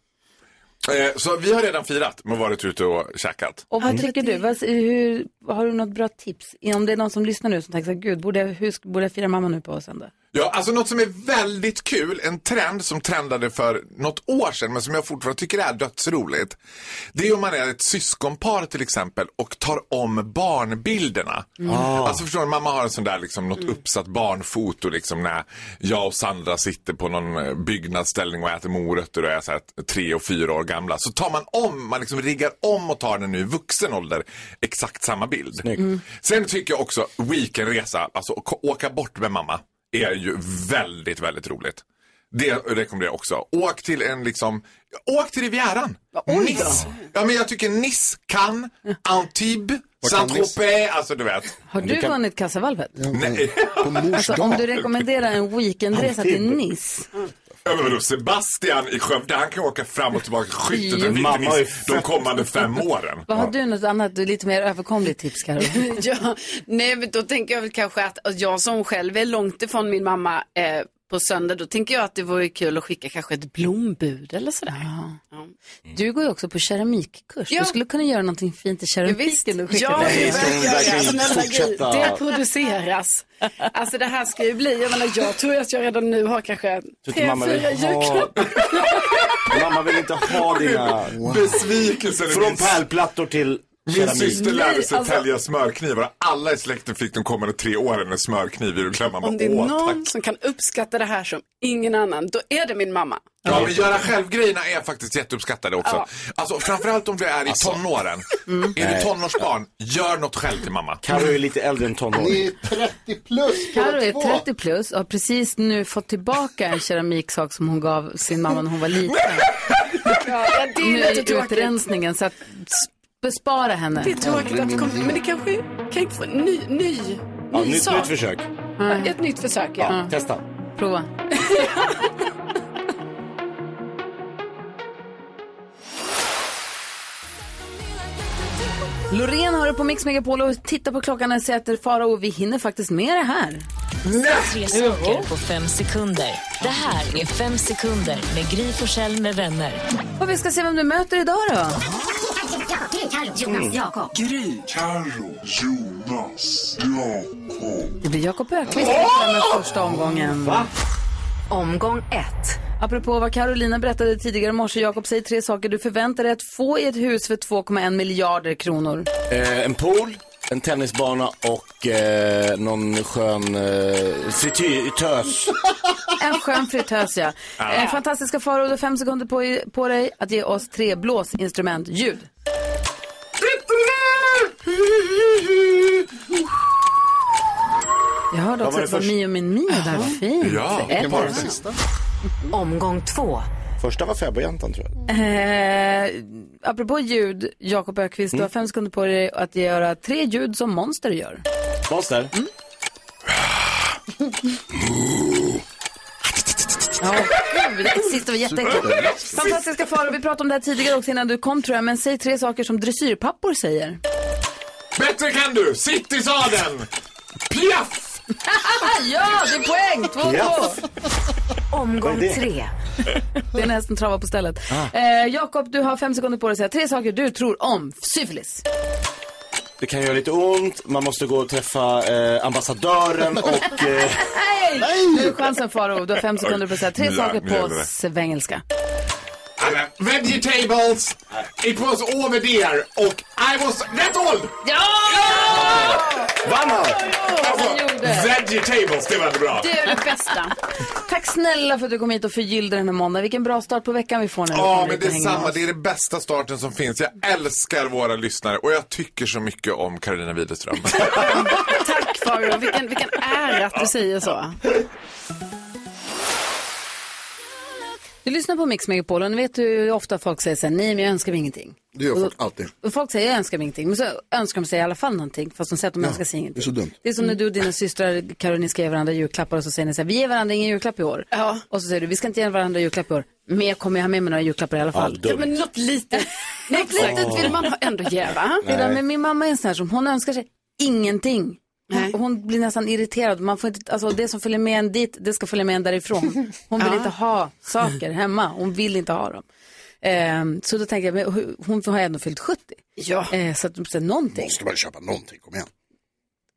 Eh, Så vi har redan firat men varit ute och käkat.
Och vad tycker du? Vad, hur, har du något bra tips? Om det är någon som lyssnar nu som tänker så här, gud, borde jag, hur, sk- borde jag fira mamma nu på söndag?
Ja, alltså något som är väldigt kul, en trend som trendade för något år sedan men som jag fortfarande tycker är dödsroligt. Det är om man är ett syskonpar till exempel och tar om barnbilderna.
Mm. Ah. Mm.
Alltså förstår du, mamma har en sån där liksom något uppsatt barnfoto liksom när jag och Sandra sitter på någon eh, byggnadsställning och äter morötter och är så här tre och fyra år gamla. Så tar man om, man liksom riggar om och tar den nu i vuxen ålder exakt samma bild.
Mm.
Sen tycker jag också weekendresa, alltså å- åka bort med mamma, är ju väldigt, väldigt roligt. Det rekommenderar jag också. Åk till en liksom, åk till Rivieran. Nice. Ja men jag tycker Nice, Cannes, Antibes,
Var kan
Saint-Tropez, alltså du vet.
Har du vunnit kassavalvet?
Nej.
Alltså, om du rekommenderar en weekendresa till Nice.
Ja, men vadå, Sebastian i Skövde, han kan åka fram och tillbaka skyttet
Jo.
en
Mamma
liten
har ju
is de kommande fem åren.
Vad har du något annat, lite mer överkomligt tips, Karo?
Mm. ja, nej, men då tänker jag väl kanske att att jag som själv är långt ifrån min mamma eh, på söndag, då tänker jag att det vore kul att skicka kanske ett blombud eller sådär.
Du går ju också på keramikkurs. Du skulle kunna göra någonting fint i keramiken och skicka
Ja,
till mig.
det ska hon verkligen
Snälla Gud.
fortsätta. Alltså, Det produceras. Alltså det här ska ju bli, jag menar jag tror att jag redan nu har kanske
Tyckte
tre,
mamma vill
fyra
ha...
julklappar.
Mamma vill inte ha dina...
Besvikelsen är
Från
min-
pärlplattor till
Min
keramik.
syster lärde sig
alltså-
tälja smörknivar. Alla i släkten fick de kommande tre åren en smörkniv i julklapp.
Om det är någon som kan uppskatta det här som ingen annan, då är det min mamma.
Ja, men göra själv-grejerna är faktiskt jätteuppskattade också. Alltså, framförallt om du är i tonåren.
Mm.
Är du
Nej.
tonårsbarn, gör något själv till mamma.
Karo är lite äldre än tonåring.
30 plus
Karo är 30 plus och har precis nu fått tillbaka en keramiksak som hon gav sin mamma när hon var liten.
Ja, det
nu
är lite
är
tråkigt.
utrensningen, så att s- bespara henne.
Det är tråkigt att det kommer, men det kanske kan jag få en ny, ny,
Ja,
ny
nytt,
sak.
nytt försök.
Ja, ett nytt försök, ja.
Ja, testa.
Prova. Loreen har det på Mix Megapol och titta på klockan och säger att Farao, vi hinner faktiskt med det här.
Tre saker på fem sekunder. Det här är Fem sekunder med Gry Forssell med vänner.
Och vi ska se vem du möter idag då. Mm.
Jakob.
Gry. Carro. Jonas. Jakob.
Det blir Jakob Öqvist som tar med första omgången.
Va?
Omgång ett. Apropå vad Carolina berättade tidigare i morse, Jakob säger tre saker du förväntar dig att få i ett hus för 2,1 miljarder kronor.
Eh, en pool, en tennisbana och eh, någon skön eh, fritytös.
En skön fritös, ja.
Ja.
Eh, Fantastiska Farao, du har fem sekunder på, i- på dig att ge oss tre blåsinstrumentljud. Jag hörde
Vad
också
var
att det
det
var Mio min Mio där. Fint. Ett
var den
rätt.
sista?
Omgång två.
Första var fäbodjäntan tror jag.
Eh, apropå ljud, Jakob Ökvist, du
Mm.
har fem sekunder på dig att göra tre ljud som monster gör. Mm.
Monster.
Ja, gud, det sista var jätteäckligt. Fantastiska faror, vi pratade om det här tidigare också innan du kom tror jag, men säg tre saker som dressyrpappor säger.
Bättre kan du! Sitt i sadeln! Piaff!
Ah, ja, det är poäng! Två,
Yes.
två. Omgång
Vad är det? Ah.
tre. Det är nästan trava på stället. Eh, Jakob, du har fem sekunder på dig att säga tre saker du tror om syfilis.
Det kan göra lite ont, man måste gå och träffa eh, ambassadören och... Eh,
Nej! Nu är chansen Faro. Du har fem sekunder på att säga tre
Oj,
saker
nu gäller
på
det.
svengelska.
Vegetables! It was over there och I was that old!
Ja!
Vann han?
han gjorde.
Alltså, Vegetables, det var inte bra.
Det är det bästa. Tack snälla för att du kom hit och förgyllde den här måndagen. Vilken bra start på veckan vi får när vi
Ja,
kommer
men
hit
det
och
är
hänger
samma.
med oss.
Det är den bästa starten som finns. Jag älskar våra lyssnare och jag tycker så mycket om Karolina Widerström.
Tack Farao, vilken, vilken ära att du säger så.
Du lyssnar på Mix Megapol och ni vet hur ofta folk säger så här, nej men jag önskar mig ingenting.
Det gör folk alltid.
Och folk säger jag önskar mig ingenting, men så önskar de sig i alla fall någonting, fast de säger att de önskar sig
Det
ingenting.
är så dumt.
Det är som när du och dina systrar Caroline ska ge varandra julklappar och så säger ni så här, vi ger varandra ingen julklapp i år. Och så säger du, vi ska inte ge varandra julklapp i år, men jag kommer ju ha med mig några julklappar i alla
Ja,
fall.
dumt. Ja, men något litet, något litet vill man ha- ändå ge va?
Det där med min mamma är en sån här som, hon önskar sig ingenting. Hon, hon blir nästan irriterad. Man får inte, alltså, det som följer med en dit, det ska följa med en därifrån. Hon vill
Ja.
inte ha saker hemma. Hon vill inte ha dem. Ehm, så då tänker jag, men, hu- hon har ju ändå fyllt 70.
Ja.
Eh, så att de säger någonting.
Måste man köpa någonting, kom igen.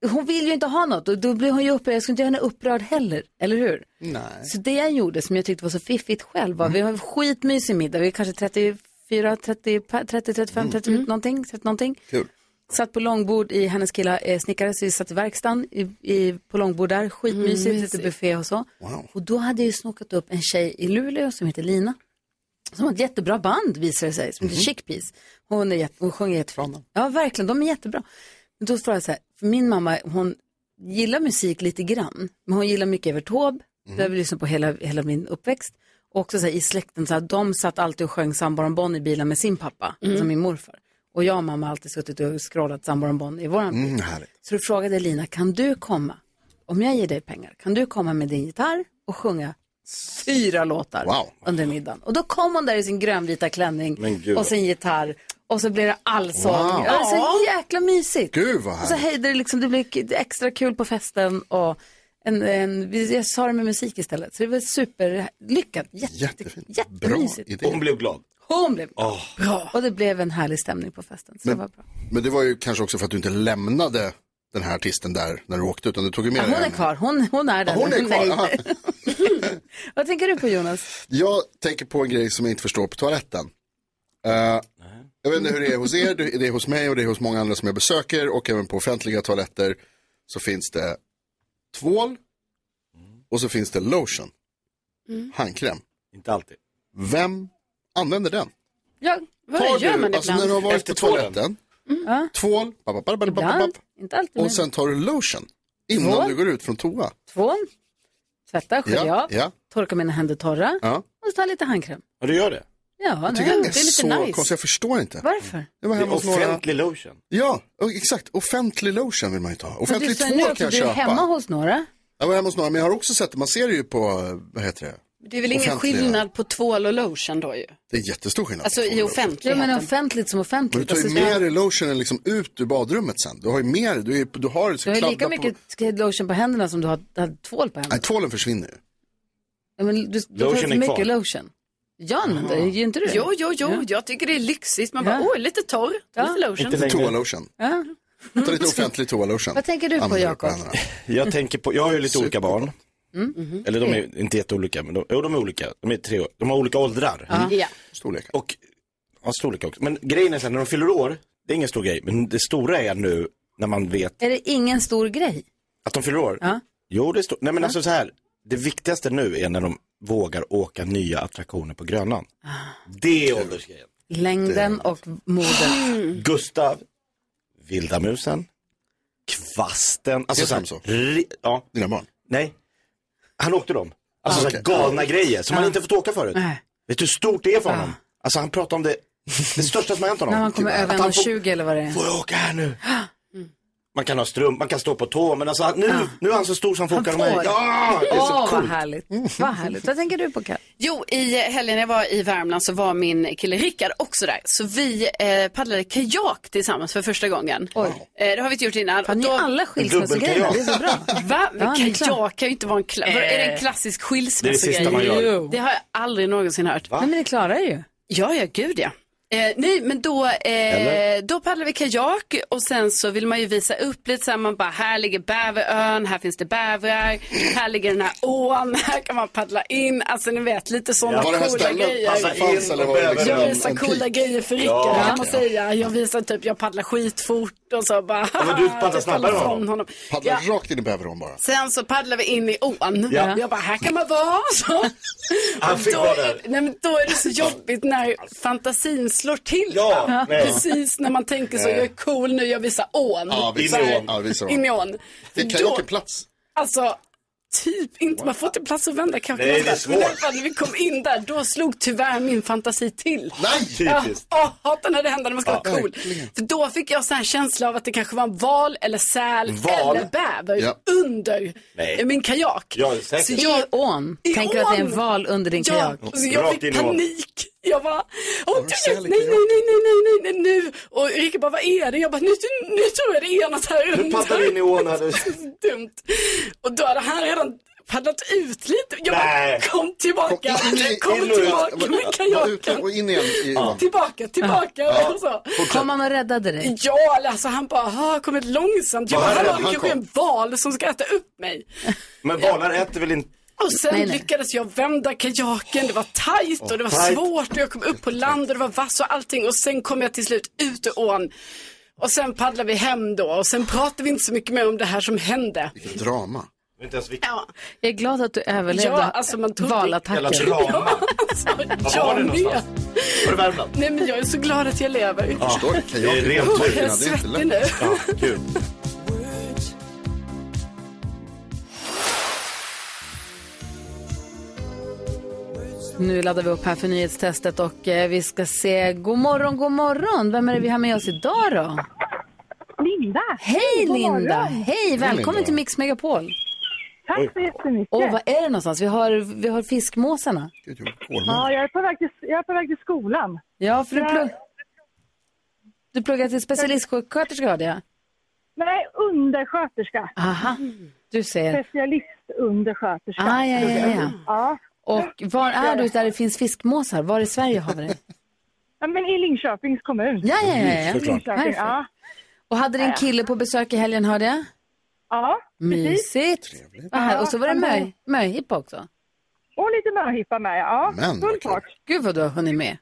Hon vill ju inte ha något och då blir hon ju upprörd. Jag skulle inte göra henne upprörd heller, eller hur?
Nej. Mm.
Så det jag gjorde som jag tyckte var så fiffigt själv var, vi har en skitmysig middag, vi är kanske 34, 30, 30 35, 30 någonting, 30 någonting.
Mm. Kul.
Satt på långbord i hennes killa eh, snickare, så vi satt i verkstaden i, i, på långbord där, skitmysigt,
Mm,
lite
mysigt.
buffé och så. Och då hade jag ju snokat upp en tjej i Luleå som heter Lina. Som har ett jättebra band visar det sig, som heter Chick Peas. Hon, är jätte, hon sjunger jättefint. Ja, verkligen, de är jättebra. Men då frågade jag så här, för min mamma, hon gillar musik lite grann, men hon gillar mycket Evert Taube, det har vi lyssnat på hela, hela min uppväxt. Och också så här, i släkten, så här, de satt alltid och sjöng Sambaron Bonn i bilen med sin pappa,
Mm.
som min morfar. Och jag och mamma har alltid suttit och scrollat Sambaron Bonn i våran bil. Så då frågade jag Lina, kan du komma, om jag ger dig pengar, kan du komma med din gitarr och sjunga fyra låtar under middagen? Och då kom hon där i sin grönvita klänning
Men gud.
och sin gitarr och så blev det allsång.
Wow.
Ja, Så
Ja.
jäkla mysigt.
Gud vad
Och så
härligt.
hejde det liksom, det blev k- extra kul på festen och en, en, vi- jag sa det med musik istället. Så det var superlyckat, jätte, jättemysigt.
Hon blev glad.
Hon blev
Åh.
bra. Och det blev en härlig stämning på festen. Så det var bra.
Men det var ju kanske också för att du inte lämnade den här artisten där när du åkte, utan du tog ju med
Ja,
dig
hon är
henne.
kvar, hon, hon är där.
hon är
nu.
kvar,
Nej.
aha.
Vad tänker du på Jonas?
Jag tänker på en grej som jag inte förstår på toaletten. Eh, jag vet inte hur det är hos er, det det är hos mig och det är hos många andra som jag besöker och även på offentliga toaletter så finns det tvål och så finns det lotion, handkräm.
Inte alltid.
Vem använder den?
Ja,
Tar
vad gör
du,
man
alltså
ibland?
när
Oh,
du har varit på toaletten, tvål, papp, papp, papp, papp,
Ibland,
papp,
inte alltid. men
och sen tar du lotion innan
Tvål.
du går ut från toa.
Tvål, tvätta, skölja
Ja,
av,
ja,
torka mina händer torra
ja.
och så ta lite handkräm.
Ja, du gör det?
Ja,
Jag
nej,
tycker det är,
lite
så
nice.
konstigt, jag förstår inte.
Varför?
Jag var hemma hos några-
offentlig lotion.
Ja, och exakt. Offentlig lotion vill man ju inte ha.
Men Alltså, du
Offentlig
sa nu
tvål
att
kan jag
Du är
köpa.
hemma hos några.
Jag var hemma hos några, men jag har också sett det. Man ser det ju på, vad heter det?
Det är väl ingen
Offentliga.
skillnad på tvål och lotion då ju?
Det är jättestor skillnad.
Alltså i
Ja,
offentligheten.
men offentligt som
Men du
offentligt.
tar ju
Alltså,
med dig lotionen liksom ut ur badrummet sen. Du har ju mer, du, är, du har, liksom
du har ju lika mycket lotion på händerna som du har, har tvål på händerna.
Nej, tvålen försvinner ju.
Ja, men du, du tar
Lotion
för
är
mycket
kvar.
lotion. Jag använder det, gör inte du det?
Jo, jo, jo, jag tycker det är lyxigt. Man bara,
Ja.
åh, lite torr, lite lotion.
Inte toalotion.
Ja.
Ta lite offentlig toalotion.
Vad tänker du på,
Använder
Jakob?
på händerna.
Jag tänker på, jag har ju lite olika barn.
Mm. Mhm.
Eller de är inte jätteolika, men de, jo, de är olika. De är tre år. De har olika åldrar. Mm.
Ja.
Storlekar.
Och, ja, storlekar också. Men grejen är sen när de fyller år, det är ingen stor grej, men det stora är nu när man vet
Är det ingen stor grej?
att de fyller år.
Ja.
Jo, det är stort. Nej, men alltså så här. det viktigaste nu är när de vågar åka nya attraktioner på Grönan. Det är åldersgrejen.
Längden och modet.
Gustav, vilda musen, kvasten. Alltså
Heter
så,
de
så. ja.
Dina barn?
Nej. Han åkte dem. Alltså
Ah,
så här
okej.
galna
Ah.
grejer som
Ah.
han inte fått åka förut.
Nej.
Vet du hur stort det är för honom? Alltså han pratar om det, det största som har hänt honom. Typ,
När man kommer
Att
över
han får-
1,20 eller vad det är.
Får jag åka här nu? Man kan ha strump, man kan stå på tå, men alltså nu, nu är han så stor som han får åka de här. Ja, det är så
Åh, vad
coolt.
härligt. Vad härligt. Vad tänker du på, Kalle?
Jo, i helgen när jag var i Värmland så var min kille Rickard också där. Så vi eh, paddlade kajak tillsammans för första gången. Eh, det har vi inte gjort innan. Fan,
ni är alla skilsmässogrejer, det är så bra.
Va? Men
Ja, det är klart.
kajak kan ju inte vara en, kla- Vad är det en
Eh,
klassisk skilsmässogrej?
sista man gör. Jo.
Det har jag aldrig någonsin hört.
Nej, men det klarar ju.
Ja, ja, gud ja. Eh, nej, men då, eh,
Eller?
då paddlade vi kajak och sen så vill man ju visa upp lite så här, man bara, här ligger bäverön, här finns det bävrar, här ligger den här ån, här kan man paddla in, alltså ni vet lite sådana
Ja, var det här
coola
stället?
grejer.
Alltså, fanns eller var det liksom
jag
en-
visar
en
coola
pik?
grejer för Rickard,
Ja,
kan man
okej.
säga. Jag visar typ, jag paddlar skitfort och så bara,
Ja, men du paddlar
jag tar
snabbare än
ifrån
honom. Paddla
Ja.
rakt in i bäverån bara.
Sen så paddlar vi in i ån.
Ja.
Jag bara, här kan man vara. Så.
Han fick
då,
vara där.
Nej, men då är det så jobbigt när fantasin slår till.
Ja,
va?
nej.
Precis när man tänker så,
Nej.
jag är cool nu, jag visar ån.
Ja,
Så
visa
här,
ån. Ja, visa ån.
In i ån.
Det kan ju
Då-
åka plats.
Alltså, typ inte. Man får inte plats att vända kanske.
Nej, det är
någonstans. Men
svårt.
i alla fall, när vi kom in där, då slog tyvärr min fantasi till.
Nej!
Ja,
Typiskt.
åh, hatar när det händer när man ska
Ja,
vara cool.
verkligen.
För då fick jag så här en känsla av att det kanske var en val eller säl
Val?
eller bäver
Ja.
under
Nej.
min kajak.
Ja,
säkert.
Så jag, I ån.
I
Tänker du att det är en
ån?
val under din
Ja,
kajak?
så jag fick panik. Jag bara, åh du vet, nej, nej, nej, nej, nej, nej, nu. Och Rickard bara, vad är det? Jag bara, nu, nu tror jag det är något här under.
Du paddlar in i ån här nu.
Dumt. Och då hade han redan paddlat ut lite. Jag bara,
Nej.
kom tillbaka,
Kom in i-
kom
in och ut.
tillbaka med
Var ute
kajaken.
och in igen i ån.
Tillbaka, tillbaka.
Ja.
Och så.
Fortsätt. Kom
han och räddade dig?
Ja, alltså han bara, ha, kommit långsamt. Jag
Vad
bara,
hände?
hallå, det
Han
kanske är
kom.
en val som ska äta upp mig.
Men valar äter väl inte?
Och sen
Nej, nej.
lyckades jag vända kajaken, det var tajt och det var
Åh, tajt.
svårt och jag kom upp på land och det var vass och allting och sen kom jag till slut ut ur ån. Och sen paddlade vi hem då och sen pratade vi inte så mycket mer om det här som hände.
Drama.
Inte ens vilken.
Ja,
Jag är glad att du överlevde
Ja, alltså, man tog-
valattacken.
Jävla drama.
Var
jag
var det
med.
någonstans? Var det Värmland?
Alltså, Nej men jag är så glad att jag lever.
Ja, Förstår du? Kajaken det är rent
Åh,
tur.
Jag är
Det är inte
svettig nu.
lätt. Ja, kul.
Nu laddar vi upp här för nyhetstestet och eh, vi ska se, god morgon, god morgon. Vem är det vi har med oss idag då? Linda. Hej
Hej, god
Linda.
morgon.
Hej,
Hej,
välkommen
Linda.
till Mix Megapol.
Tack så jättemycket.
Och vad är det någonstans? Vi har, vi har fiskmåsarna.
Ja, jag är på väg till, jag är på väg till skolan.
Ja, för du, plugg, du pluggar till specialistsjuksköterska hörde jag.
Nej, undersköterska.
Aha,
Mm.
du ser.
Specialistundersköterska.
Ah, ja, ja, ja.
ja.
Och var är du där det finns fiskmåsar? Var i Sverige har vi det?
Ja, men i Linköpings kommun.
Ja, ja, ja. ja.
Linköping, ja.
Perfekt. Och hade din kille på besök i helgen hörde jag?
ja precis.
Mysigt. Vad här.
Ja,
Och så var det
han var-
möj- möhippa också.
Och lite möhippa med, ja. Full fart.
Gud vad du har hunnit med.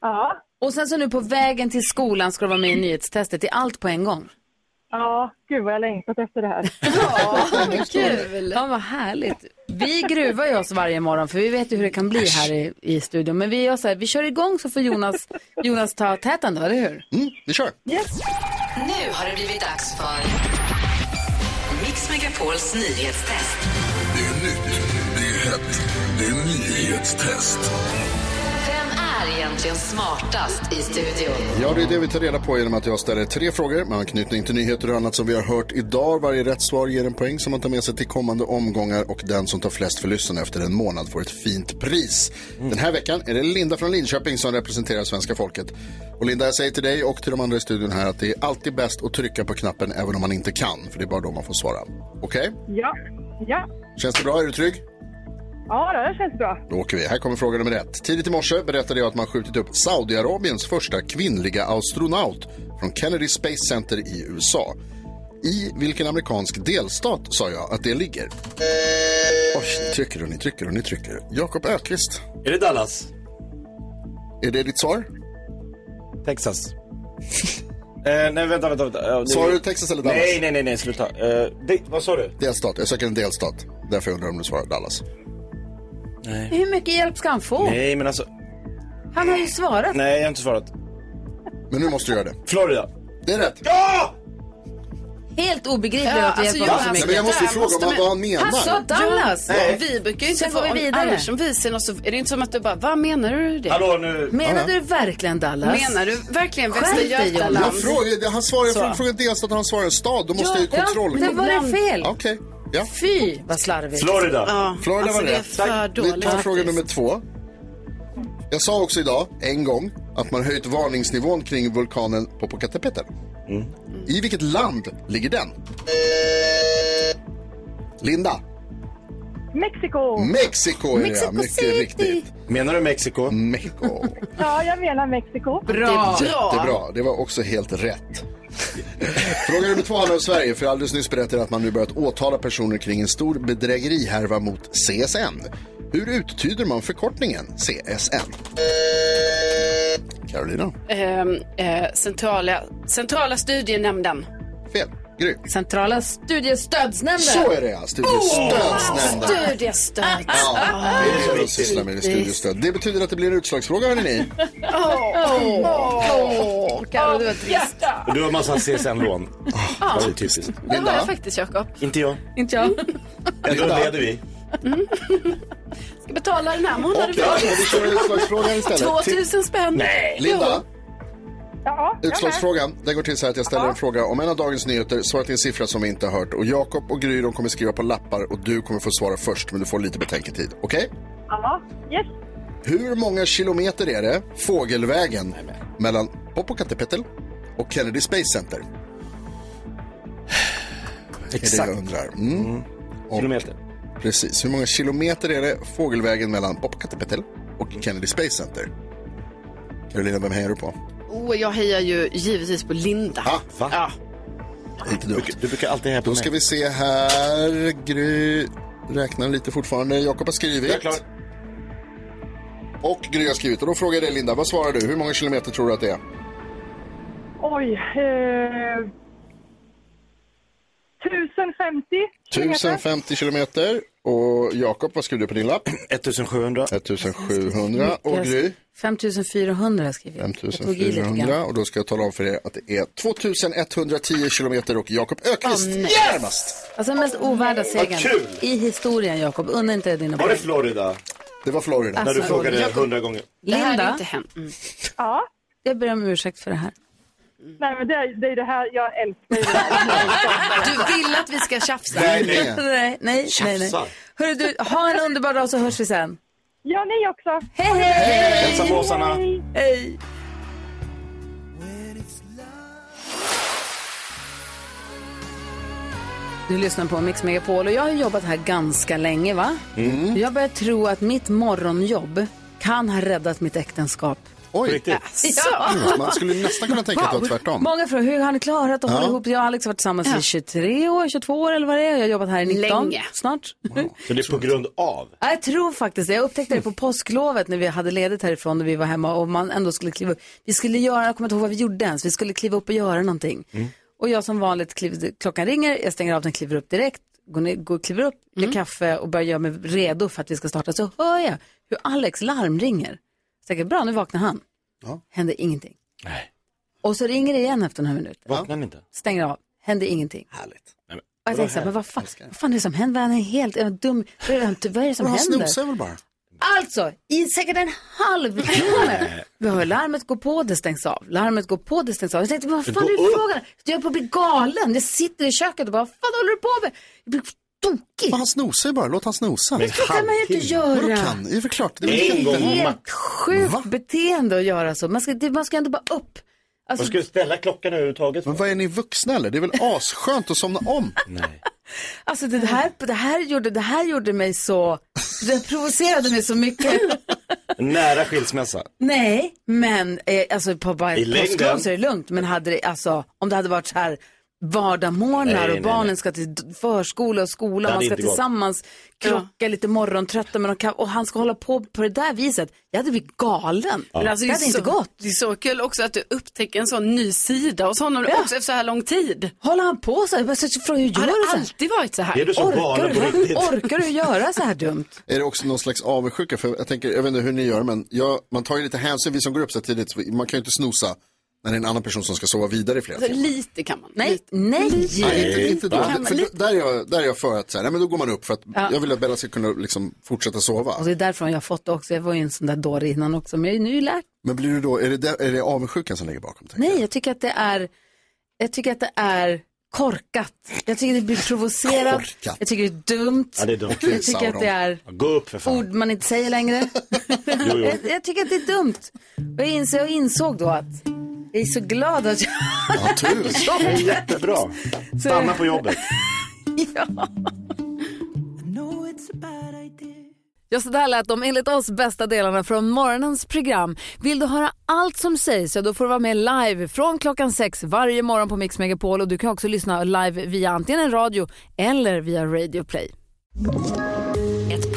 Ja.
Och sen så nu på vägen till skolan ska du vara med i nyhetstestet. Det är allt på en gång.
Ja, gud vad jag längtat efter det här.
Kul! Ja, vad härligt. Vi gruvar ju oss varje morgon för vi vet ju hur det kan bli här i, i studion. Men vi gör så här, vi kör igång så får Jonas, Jonas ta täten då, eller hur?
Mm, vi kör.
Nu har det blivit dags för Mix Megapols nyhetstest.
Det är nytt, det är hett, det är nyhetstest.
Vem är egentligen smartast i studion?
Ja, det är det vi tar reda på genom att jag ställer tre frågor med anknytning till nyheter och annat som vi har hört idag. Varje rätt svar ger en poäng som man tar med sig till kommande omgångar och den som tar flest för lyssnarna efter en månad får ett fint pris.
Mm.
Den här veckan är det Linda från Linköping som representerar svenska folket. Och Linda, jag säger till dig och till de andra i studion här att det är alltid bäst att trycka på knappen även om man inte kan, för det är bara då man får svara. Okej?
Ja, ja.
Känns det bra? Är du trygg?
Ja, det här känns bra.
Då åker vi. Här kommer fråga nummer ett. Tidigt i morse berättade jag att man skjutit upp Saudiarabiens första kvinnliga astronaut från Kennedy Space Center i USA. I vilken amerikansk delstat sa jag att det ligger? Oj, ni trycker och ni trycker och ni trycker. Jakob Ökvist.
Är det Dallas?
Är det ditt svar?
Texas. Eh, nej, vänta, vänta. vänta. Ja, det-
Sa du Texas eller Dallas?
Nej, nej, nej, nej sluta. Eh, det, vad sa du?
Delstat. Jag söker en delstat. Därför undrar jag om du svarar Dallas.
Nej.
Hur mycket hjälp ska han få?
Nej, men alltså.
Han har ju svarat.
Nej, jag har inte svarat.
Men nu måste du göra det.
Florida. Ah!
Det är rätt.
Ja!
Helt obegripligt
Ja,
att du
alltså,
hjälper
jag-
honom så
Nej,
mycket.
men jag måste ju fråga
vad- vad han menar.
Han sa Dallas.
Ja,
Nej.
Alltså, Vi brukar ju inte
Sen
få,
går vi vidare.
annars om vi ser något så är det inte som att du bara, vad menar du det?
Hallå nu.
Menar du verkligen Dallas?
Menar du verkligen
Skärp
Västra
dig, Jonas.
Götaland?
Jag frågade, han svarade, jag
Så.
frågade- frågade delstat och han svarade stad. Då måste jag ju
Ja,
kontroll.
det var det fel.
Okej. Ja.
Fy, vad slarvigt.
Florida
alltså,
var
det är
rätt.
för dåligt
Vi tar fråga
faktiskt.
nummer två. Jag sa också idag, en gång, att man höjt varningsnivån kring vulkanen Popocatépetl. I vilket land ligger den? Linda.
Mexiko!
Mexiko är det,
Mexico
ja, mycket
City.
riktigt.
Menar du Mexiko?
Mm. Mexiko.
Ja, jag menar Mexiko.
Jättebra, det var också helt rätt. Fråga nummer två handlar om Sverige, för jag alldeles nyss berättade att man nu börjat åtala personer kring en stor bedrägerihärva mot CSN. Hur uttyder man förkortningen CSN? Carolina?
Ehm, eh, centrala, centrala studienämnden.
Fel. Gry.
Centrala studiestödsnämnden.
Så är det ja, studiestödsnämnden.
Studiestöd.
Ja, det är det de sysslar med, det är studiestöd. Det betyder att det blir en utslagsfråga hörni.
Åh, Carro, du var trist.
Och du har massa CSN-lån.
Ah.
Ja.
Det var ju typiskt.
Det har jag faktiskt, Jakob.
Inte jag.
Inte jag.
Ändå leder vi.
Ska betala den här månaden.
Okej, men vi kör utslagsfrågan istället.
2000 spänn.
Nej. Linda? Utslagsfrågan, den går till så här att jag ställer en fråga om en av dagens nyheter, svara till en siffra som vi inte har hört och Jakob och Gry de kommer skriva på lappar och du kommer få svara först men du får lite betänketid. Okej?
Ja, yes.
Hur många kilometer är det fågelvägen mellan Popocatépetl och Kennedy Space Center? Exakt. Det är det jag undrar. Mm. Kilometer. Precis. Hur många kilometer är det fågelvägen mellan Popocatépetl och Kennedy Space Center? Carolina, vem hejar du på?
Oh, jag hejar ju givetvis på Linda.
Ah, Va?
Ja.
Inte dumt.
Du brukar alltid heja på
Då ska vi se här. Gry räknar lite fortfarande. Jakob har skrivit.
Jag är klar.
Och Gry har skrivit. Och då frågar jag dig Linda, vad svarar du? Hur många kilometer tror du att det är?
Oj. Eh, 1050.
1050 kilometer. Och Jakob, vad skriver du på din lapp?
1700.
1700. Och
Jag-
Gry?
5400 har jag skrivit. Jag tog i lite
5400.
grann.
Och då ska jag tala om för er att det är 2110 kilometer och Jakob Ökvist
Åh, nej.
närmast.
Alltså den mest ovärda segern
kul!
i historien, Jakob. Unna inte dina
Var det
barn.
Florida?
Det var Florida.
När du
Alltså,
frågade
Jakob-
hundra gånger.
Det här är
Linda,
inte
ja. jag ber om ursäkt för det här.
Nej, men det är det, är det här jag älskar.
Du
vill att vi ska tjafsa?
Nej, nej. nej, nej, nej, nej.
Tjafsa.
Hörru, du, ha en underbar dag så hörs vi sen.
Ja, ni också.
Hej, hej!
Hälsa på Sanna.
Hej! Du lyssnar på Mix Megapol och jag har jobbat här ganska länge va?
Mm.
Jag börjar tro att mitt morgonjobb kan ha räddat mitt äktenskap.
Oj.
Riktigt.
Mm, Man skulle nästan kunna tänka att det var tvärtom.
Många frågar hur har ni klarat att
Ja.
hålla ihop? Jag och Alex har liksom varit tillsammans i 23 år, 22 år eller vad det är. Jag har jobbat här i 19
Länge.
snart.
Så det är på grund av?
Ja, Jag tror faktiskt det. Jag upptäckte det på påsklovet när vi hade ledigt härifrån när vi var hemma och man ändå skulle kliva upp. Vi skulle göra, jag kommer inte ihåg vad vi gjorde ens, vi skulle kliva upp och göra någonting. Och jag som vanligt, kliv, klockan ringer, jag stänger av den, kliver upp direkt, går, ner, går kliver upp, gör kaffe och börjar göra mig redo för att vi ska starta. Så hör jag hur Alex larm ringer. Så tänker jag, bra nu vaknar han.
Ja.
Händer ingenting. Och så ringer det igen efter några minuter.
Vaknar ni inte?
Stänger av, händer ingenting.
Härligt.
Och jag tänkte så här, men vad fan, vad fan är det som händer? Han är helt är han dum. Vad är det- vad är det som
Men han
händer?
snusar väl bara?
Alltså, i säkert en halvtimme. Vi hör larmet gå på, det stängs av. Larmet går på, det stängs av. Jag tänkte, vad fan
Gå
är
upp.
det frågan? Jag är på att bli galen. Jag sitter i köket och bara, vad fan håller du på med? Jag blir tokig.
Han snosar ju bara, låt han snosa.
Men det kan man ju inte
Vadå
göra.
kan? Det är väl klart.
Det är
väl
ett
klart.
helt sjukt beteende att göra så. Man ska, det, man ska ändå bara upp. Alltså,
Man
ska ju ställa klockan överhuvudtaget.
Men vad är ni vuxna eller? Det är väl asskönt att somna om? Nej.
Alltså det här, det här, gjorde, det här gjorde mig så, det provocerade mig så mycket.
Nära skilsmässa.
Nej, men eh, alltså på bara
I
ett
längden.
påsklov så är det lugnt. Men hade det, alltså, om det hade varit så här, vardagsmorgnar
Nej,
och
nej,
barnen ska till d- förskola och skola.
Det
Man
hade
ska
inte gått.
tillsammans krocka lite morgontrötta men de kan, och han ska hålla på på det där viset. Jag hade blivit galen.
Men alltså,
det hade
är
inte
så,
gått.
Det är så kul också att du upptäcker en sån ny sida hos honom
Ja.
också efter så här lång tid.
Håller han på så här? Jag bara, så- så frågar, hur gör
Har
du
det
så här?
alltid varit så här?
Är du så
orkar,
galen på
du, hur
riktigt?
orkar du göra så här dumt?
Är det också någon slags avundsjuka? För jag, tänker, jag vet inte hur ni gör, men jag, man tar ju lite hänsyn, vi som går upp så här tidigt, så man kan ju inte snosa när det är en annan person som ska sova vidare i flera
Alltså,
timmar.
lite kan man.
Nej, nej.
Nej, inte, inte då.
Kan man
För
lite.
där, är jag, där är jag för att så här, nej, men då går man upp för att
Ja. Mm.
jag vill att Bella ska kunna liksom, fortsätta sova.
Och det är därifrån jag har fått det också. Jag var ju en sån där dåre innan också. Men jag är ju nu lärt.
Men blir du då, är det, där, är det avundsjukan som ligger bakom?
Nej, jag tycker att det är, jag tycker att det är korkat. Jag tycker det blir provocerat.
Korkat.
Jag tycker det är dumt. Jag tycker att det är
Gå upp för fan.
ord man inte säger längre.
jo.
jag, jag tycker att det är dumt. Och jag, insåg, jag insåg då att jag är så glad att jag...
Ja, tur.
Det är
jättebra. Stanna på jobbet.
Ja, så där lät de enligt oss bästa delarna från morgonens program. Vill du höra allt som sägs, ja, då får du vara med live från klockan sex varje morgon på Mix Megapol. Och du kan också lyssna live via antingen en radio eller via Radio Play.
Ett